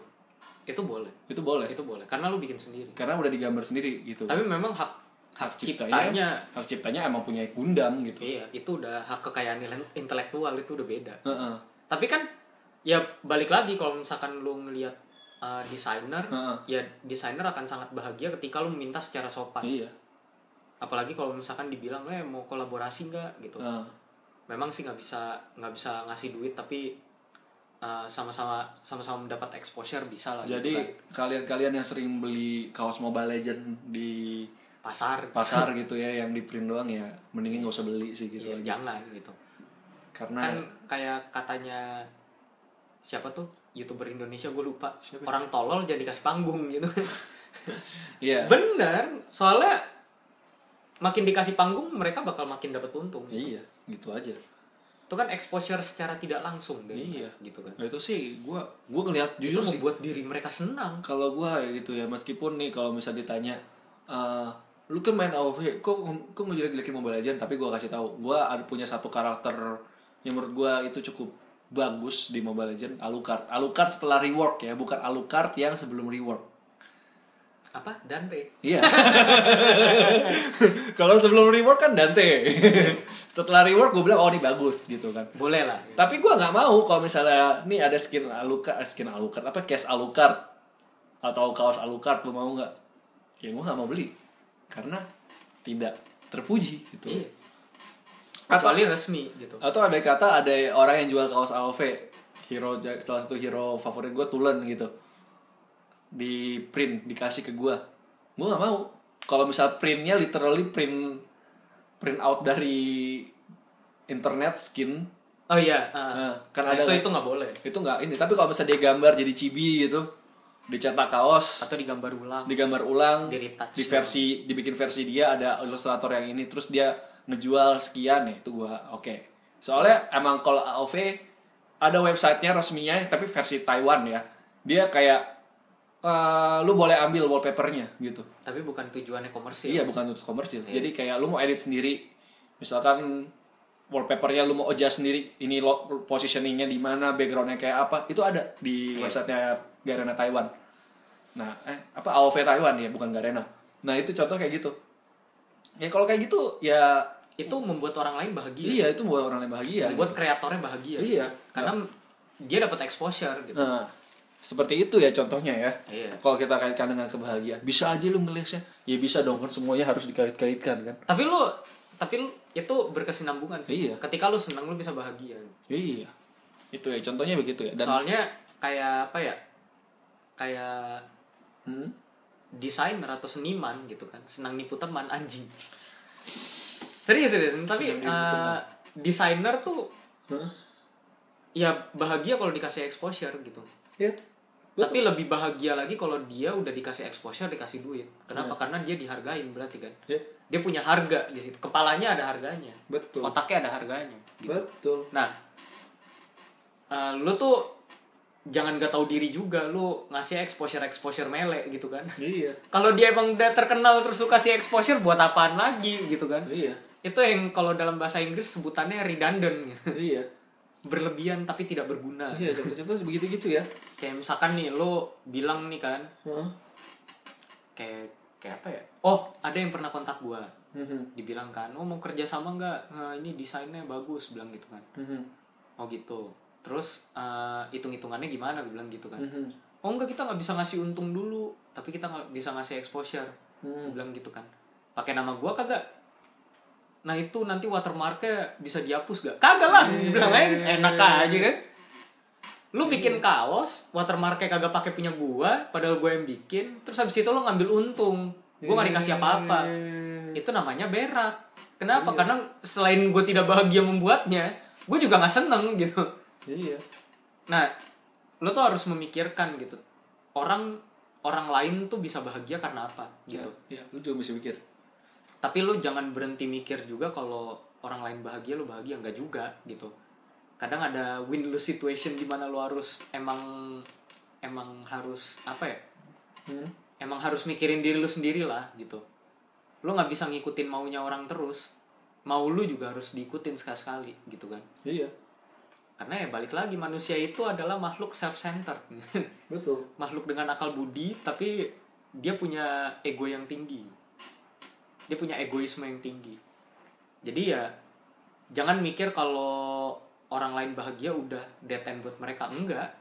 itu boleh
itu boleh
itu boleh karena lu bikin sendiri
karena udah digambar sendiri gitu
tapi memang hak hak
iya.
ciptanya
hak ciptanya emang punya Gundam gitu
iya itu udah hak kekayaan nilai- intelektual itu udah beda
Heeh.
tapi kan ya balik lagi kalau misalkan lu ngelihat uh, desainer
Heeh.
ya desainer akan sangat bahagia ketika lu minta secara sopan
Iya.
apalagi kalau misalkan dibilang eh mau kolaborasi nggak gitu
Heeh.
memang sih nggak bisa nggak bisa ngasih duit tapi uh, sama-sama sama-sama mendapat exposure bisa lah gitu
Jadi
kan.
kalian-kalian yang sering beli kaos Mobile Legend di
pasar
pasar gitu ya yang di print doang ya mendingan gak usah beli sih gitu aja.
Iya,
Nah.
jangan gitu
Karena
kan kayak katanya siapa tuh youtuber Indonesia gue lupa
Siapa?
orang tolol jadi kasih panggung gitu
iya.
bener soalnya makin dikasih panggung mereka bakal makin dapat untung
Iya, gitu aja.
itu kan exposure secara tidak langsung deh
Iya.
gitu kan
Nah, itu sih gue gue ngeliat
itu
jujur sih
membuat diri mereka senang
kalau gue ya gitu ya meskipun nih kalau misal ditanya eh, lu kan main AOV kok kok ngejelek-jelekin Mobile Legends tapi gue kasih tahu gue ada punya satu karakter yang menurut gue itu cukup bagus di Mobile Legends Alucard Alucard setelah rework ya bukan Alucard yang sebelum rework
apa Dante
Iya. Kalau sebelum rework kan Dante. Setelah rework gue bilang oh ini bagus gitu kan.
boleh lah
Tapi gue nggak mau kalau misalnya nih ada skin Alucard, eh, skin Alucard apa case Alucard atau kaos Alucard lu mau nggak? Ya gue nggak mau beli karena tidak terpuji gitu.
Iya.
Atau-
kecuali resmi gitu
Atau ada kata ada orang yang jual kaos AOV hero ja- salah satu hero favorit gue Tulen gitu di print dikasih ke gue gue nggak mau kalau misal printnya literally print print out dari internet skin
oh iya ah.
Nah, kan ada
itu
nggak?
itu nggak boleh
itu nggak ini tapi kalau misalnya dia gambar jadi chibi gitu dicetak kaos
atau digambar ulang
digambar ulang
Di retouch.
di versi dibikin versi dia ada ilustrator yang ini terus dia ngejual sekian ya itu gua oke soalnya emang kalau AOV ada websitenya resminya tapi versi Taiwan ya dia kayak eh, lu boleh ambil wallpapernya gitu
tapi bukan tujuannya komersil
iya bukan untuk komersil jadi kayak lu mau edit sendiri misalkan wallpapernya lu mau adjust sendiri ini lo positioningnya di mana backgroundnya kayak apa itu ada di websitenya Garena Taiwan nah eh apa AOV Taiwan ya bukan Garena nah itu contoh kayak gitu ya kalau kayak gitu ya
itu membuat orang lain bahagia
iya itu buat orang yang bahagia
membuat kreatornya bahagia
Iya.
karena dia dapat exposure gitu
Nah, seperti itu ya contohnya ya.
Iya.
Kalau kita kaitkan dengan kebahagiaan, bisa aja lu ngelisnya. Ya bisa dong kan semuanya harus dikait-kaitkan kan.
tapi lu tapi lu- itu berkesinambungan sih
Iya.
ketika lu senang lu bisa bahagia
Iya. Itu ya contohnya begitu ya. Dan
soalnya kayak apa ya kayak
Hmm?
desainer atau seniman gitu kan senang nipu teman anjing serius serius tapi
Senang nipu
eh,
teman.
desainer tuh
Hah?
ya bahagia kalau dikasih exposure gitu
Ya.
tapi lebih bahagia lagi kalau dia udah dikasih exposure dikasih duit kenapa
Iya.
karena dia dihargain berarti kan
Ya.
dia punya harga di situ kepalanya ada harganya
Betul.
otaknya ada harganya gitu.
Betul.
Nah, eh, lu tuh jangan gak tahu diri juga lu ngasih exposure exposure mele gitu kan.
Iya.
Kalau dia emang udah terkenal terus suka kasih exposure buat apaan lagi gitu kan?
Iya.
Itu yang kalau dalam bahasa Inggris sebutannya redundant gitu.
Iya.
Berlebihan tapi tidak berguna.
Iya, contoh-contoh begitu-gitu ya.
Kayak misalkan nih lu bilang nih kan
Heeh.
kayak kayak apa ya? Oh, ada yang pernah kontak gua.
Mhm.
Dibilang kan, "Oh, mau kerja sama nggak? Nah, ini desainnya bagus," bilang gitu kan.
Mhm.
Oh gitu. Terus eh, hitung-hitungannya gimana gue bilang gitu kan.
Mhm.
Oh enggak kita nggak bisa ngasih untung dulu, tapi kita nggak bisa ngasih exposure. Gue bilang gitu kan. Pakai nama gua kagak? Nah itu nanti watermarknya bisa dihapus gak? Kagak lah, gue bilang aja gitu. enak aja kan. Lu bikin kaos, watermarknya kagak pakai punya gua, padahal gua yang bikin. Terus habis itu lu ngambil untung. Gua nggak dikasih apa-apa
Iya,
itu namanya berak. Kenapa? Karena selain gue tidak bahagia membuatnya, gue juga nggak seneng gitu.
Iya.
Nah, lo tuh harus memikirkan gitu. Orang orang lain tuh bisa bahagia karena apa gitu.
Iya, lu juga mesti mikir.
Tapi lo jangan berhenti mikir juga kalau orang lain bahagia lo bahagia nggak juga gitu. Kadang ada win lose situation di mana lo harus emang emang harus apa ya?
Mhm.
Emang harus mikirin diri lu sendiri lah gitu. Lo nggak bisa ngikutin maunya orang terus. Mau lu juga harus diikutin sekali-sekali gitu kan.
Iya.
Karena ya balik lagi manusia itu adalah makhluk self-centered.
Betul.
makhluk dengan akal budi tapi dia punya ego yang tinggi. Dia punya egoisme yang tinggi. Jadi ya jangan mikir kalau orang lain bahagia udah dead end buat mereka. Enggak.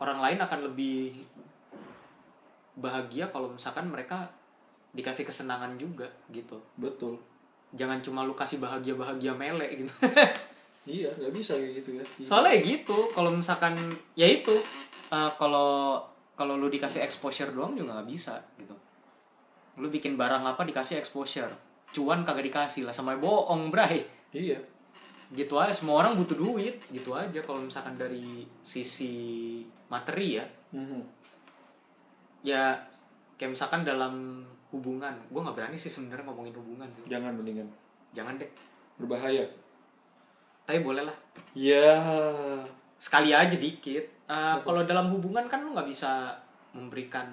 Orang lain akan lebih bahagia kalau misalkan mereka dikasih kesenangan juga gitu.
Betul.
Jangan cuma lu kasih bahagia-bahagia mele gitu.
Iya, nggak bisa kayak gitu ya. Iya.
soalnya ya gitu kalau misalkan ya itu eh, kalau kalau lu dikasih exposure doang juga nggak bisa gitu lu bikin barang apa dikasih exposure cuan kagak dikasih lah sama bohong bray
Iya.
gitu aja semua orang butuh duit gitu aja kalau misalkan dari sisi materi ya
Mhm.
ya kayak misalkan dalam hubungan gue nggak berani sih sebenarnya ngomongin hubungan sih.
Jangan mendingan
jangan deh
berbahaya.
tapi boleh lah
Ya.
sekali aja dikit Eh, kalau dalam hubungan kan lu nggak bisa memberikan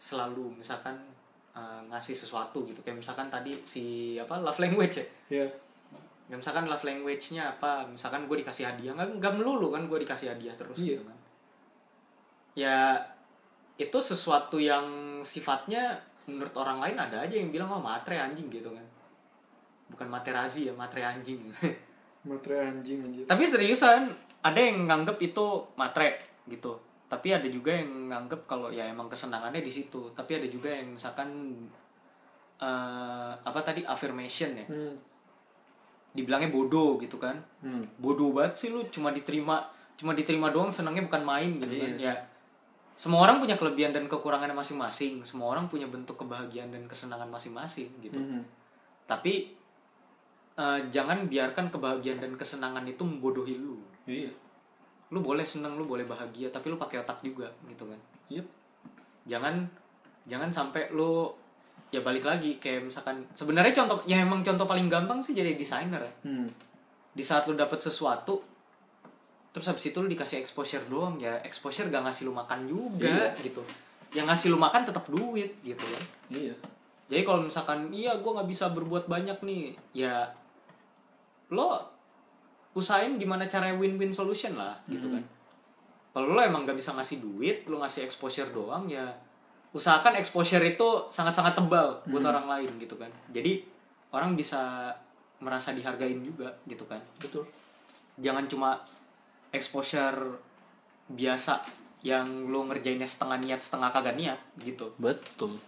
selalu misalkan eh, ngasih sesuatu gitu kayak misalkan tadi si apa love language ya
Ya.
Ya, misalkan love language-nya apa misalkan gue dikasih hadiah nggak nggak melulu kan gue dikasih hadiah terus
Iya.
gitu kan. ya itu sesuatu yang sifatnya menurut orang lain ada aja yang bilang oh matre anjing gitu kan bukan materazi ya matre anjing
Materai anjing anjir.
tapi seriusan ada yang nganggep itu matre gitu tapi ada juga yang nganggep kalau ya emang kesenangannya di situ tapi ada juga yang misalkan eh, apa tadi affirmation ya
Hmm.
dibilangnya bodoh gitu kan
Hmm.
bodoh banget sih lu cuma diterima cuma diterima doang senangnya bukan main gitu kan ya semua orang punya kelebihan dan kekurangan masing-masing semua orang punya bentuk kebahagiaan dan kesenangan masing-masing gitu
Hmm.
tapi eh, jangan biarkan kebahagiaan dan kesenangan itu membodohi lu
Iya.
lu boleh seneng lu boleh bahagia tapi lu pakai otak juga gitu kan
Yep.
jangan jangan sampai lu ya balik lagi kayak misalkan sebenarnya contoh ya emang contoh paling gampang sih jadi desainer ya
Hmm.
di saat lu dapet sesuatu terus habis itu lu dikasih exposure doang ya exposure gak ngasih lu makan juga gitu yang ngasih lu makan tetap duit gitu kan
Iya.
jadi kalau misalkan iya gue nggak bisa berbuat banyak nih ya lo usahain gimana cara win-win solution lah gitu kan kalau lo emang nggak bisa ngasih duit lo ngasih exposure doang ya usahakan exposure itu sangat-sangat tebal buat orang lain gitu kan jadi orang bisa merasa dihargain juga gitu kan
Betul.
jangan cuma exposure biasa yang lo ngerjainnya setengah niat setengah kagak niat gitu
Betul.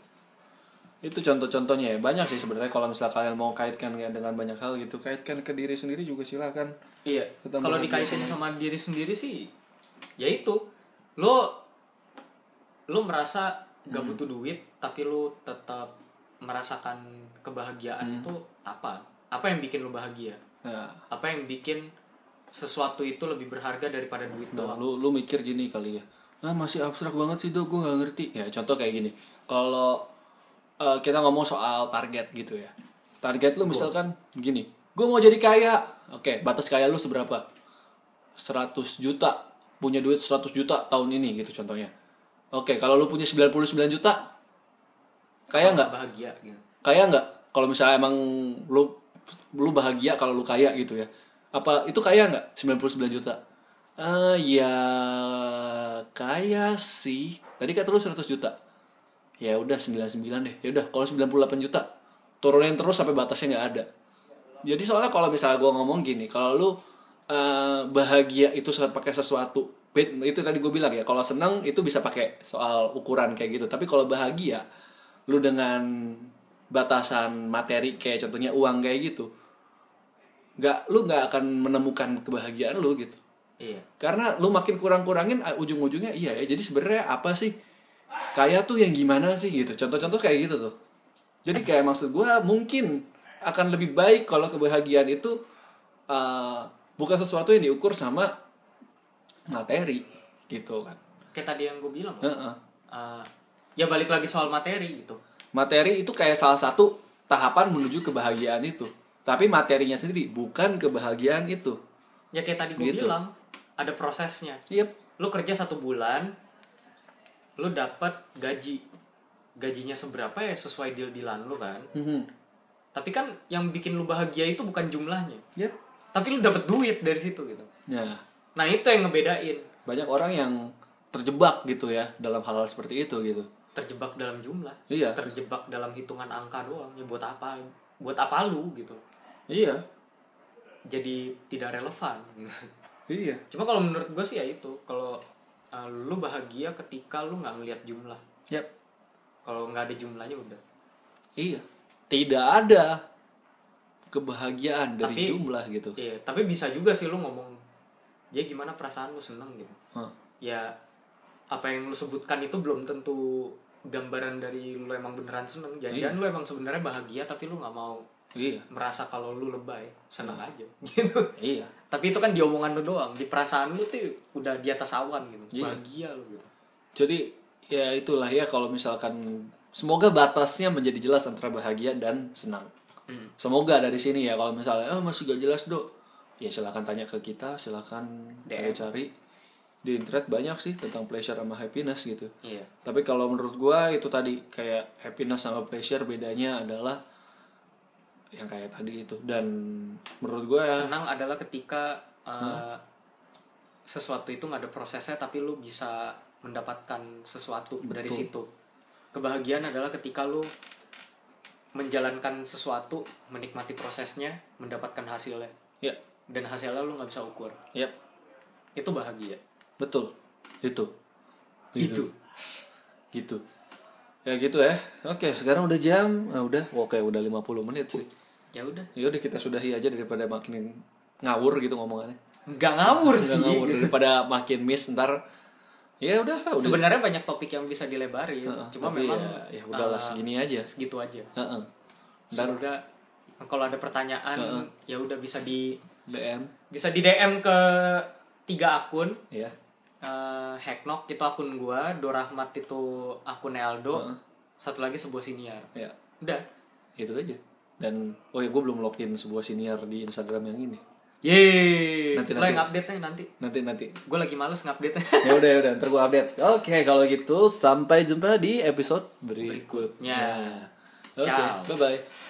Itu contoh-contohnya ya. Banyak sih sebenarnya kalau misalnya kalian mau kaitkan ya dengan banyak hal gitu, kaitkan ke diri sendiri juga silakan.
Iya.
Tetap
Kalau
bahagia
dikaitin sama diri sendiri sih, ya itu lo lo merasa
Hmm.
gak butuh duit tapi lo tetap merasakan
Hmm.
kebahagiaan itu apa? Apa yang bikin lo bahagia?
Nah,
Apa yang bikin sesuatu itu lebih berharga daripada duit
Nah,
doang?
lu lu mikir gini kali ya. Ah, masih abstrak banget sih, Do. Gue gak ngerti. Ya, contoh kayak gini. Kalau eh, kita ngomong soal target gitu ya. Target lu misalkan gini. Gue mau jadi kaya. Oke, batas kaya lu seberapa? 100 juta. Punya duit 100 juta tahun ini gitu contohnya. Oke, kalau lu punya 99 juta, kaya nggak?
Bahagia gitu.
Kaya nggak? Kalau misalnya emang lu lu bahagia kalau lu kaya gitu ya. Apa itu kaya nggak? 99 juta. Eh ya kaya sih. Tadi kata lu 100 juta. Ya udah 99 deh. Ya udah kalau 98 juta turunin terus sampai batasnya nggak ada. Jadi soalnya kalau misalnya gua ngomong gini, kalau lu eh, bahagia itu se- pakai sesuatu Be- itu tadi gue bilang ya kalau senang itu bisa pakai soal ukuran kayak gitu tapi kalau bahagia lu dengan batasan materi kayak contohnya uang kayak gitu nggak lu nggak akan menemukan kebahagiaan lu gitu
Iya.
karena lu makin kurang-kurangin ah, ujung-ujungnya iya ya jadi sebenarnya apa sih kaya tuh yang gimana sih gitu contoh-contoh kayak gitu tuh jadi kayak maksud gua mungkin akan lebih baik kalau kebahagiaan itu eh, bukan sesuatu yang diukur sama materi gitu kan
Kayak tadi yang gue bilang.
Heeh.
eh, ya balik lagi soal materi gitu.
materi itu kayak salah satu tahapan menuju kebahagiaan itu tapi materinya sendiri bukan kebahagiaan itu
Ya kayak tadi gue
Gitu.
bilang ada prosesnya.
yep
lu kerja satu bulan lu dapat gaji gajinya seberapa ya sesuai deal dealan lu kan
Mhm.
tapi kan yang bikin lu bahagia itu bukan jumlahnya
yep
tapi lu dapat duit dari situ gitu
nah
nah itu yang ngebedain
banyak orang yang terjebak gitu ya dalam hal-hal seperti itu gitu
terjebak dalam jumlah
Iya.
terjebak dalam hitungan angka doang ya buat apa buat apa lu gitu
iya
jadi tidak relevan gitu.
iya
cuma kalau menurut gue sih ya itu kalau uh, lu bahagia ketika lu nggak ngelihat jumlah
yep
kalau nggak ada jumlahnya udah
iya tidak ada kebahagiaan dari
Tapi-
jumlah gitu
Iya, tapi bisa juga sih lu ngomong. Ya gimana perasaan lu seneng gitu.
Hah.
Ya apa yang lu sebutkan itu belum tentu gambaran dari lu emang beneran seneng. Jangan-jangan lu emang sebenarnya bahagia tapi lu nggak mau
iya
merasa kalau lu lebay, seneng aja gitu.
iya
Tapi itu kan di omongan lu doang, di perasaan lu tuh udah di atas awan gitu.
Iya.
Bahagia lu gitu.
jadi ya itulah ya kalau misalkan semoga batasnya menjadi jelas antara bahagia dan senang
Hmm.
semoga dari sini ya kalau misalnya ah masih "Eh, gak jelas do ya silahkan tanya ke kita silahkan
DM.
cari-cari di internet banyak sih tentang pleasure sama happiness gitu
Iya.
tapi kalau menurut gua itu tadi kayak happiness sama pleasure bedanya adalah yang kayak tadi itu dan menurut gua ya,
Senang adalah ketika eh, sesuatu itu nggak ada prosesnya tapi lu bisa mendapatkan sesuatu dari situ. Kebahagiaan adalah ketika lu menjalankan sesuatu, menikmati prosesnya, mendapatkan hasilnya
ya
dan hasilnya lu nggak bisa ukur.
ya
Itu bahagia. Gitu.
betul itu
Itu.
gitu ya gitu ya oke sekarang udah jam nah, udah oke udah 50 menit sih
Ya udah.
ya udah kita sudahi aja daripada makin ngawur gitu ngomongannya
Nggak ngawur
Nggak
sih.
ngawur daripada makin miss ntar ya udah udah
Sebenarnya banyak topik yang bisa dilebarin,
Heeh,
cuma
tapi
memang eh, ah,
ya, ya udahlah segini aja
segitu aja.
Heeh. ntar
Semoga kalau ada pertanyaan ya udah bisa di
dm
bisa di DM ke tiga akun
ya
Eh, Hacknock itu akun gua, Dorahmat itu akun Aldo, satu lagi sebuah siniar.
ya
Udah.
itu aja dan oh ya gue belum login sebuah senior di instagram yang ini
Yeay.
Nanti,
Lo
nanti.
yang update nya nanti.
nanti nanti
Gue lagi males ngupdate.
ya udah ya udah ntar gue update oke kalau gitu sampai jumpa di episode berikutnya,
Ciao.
oke bye bye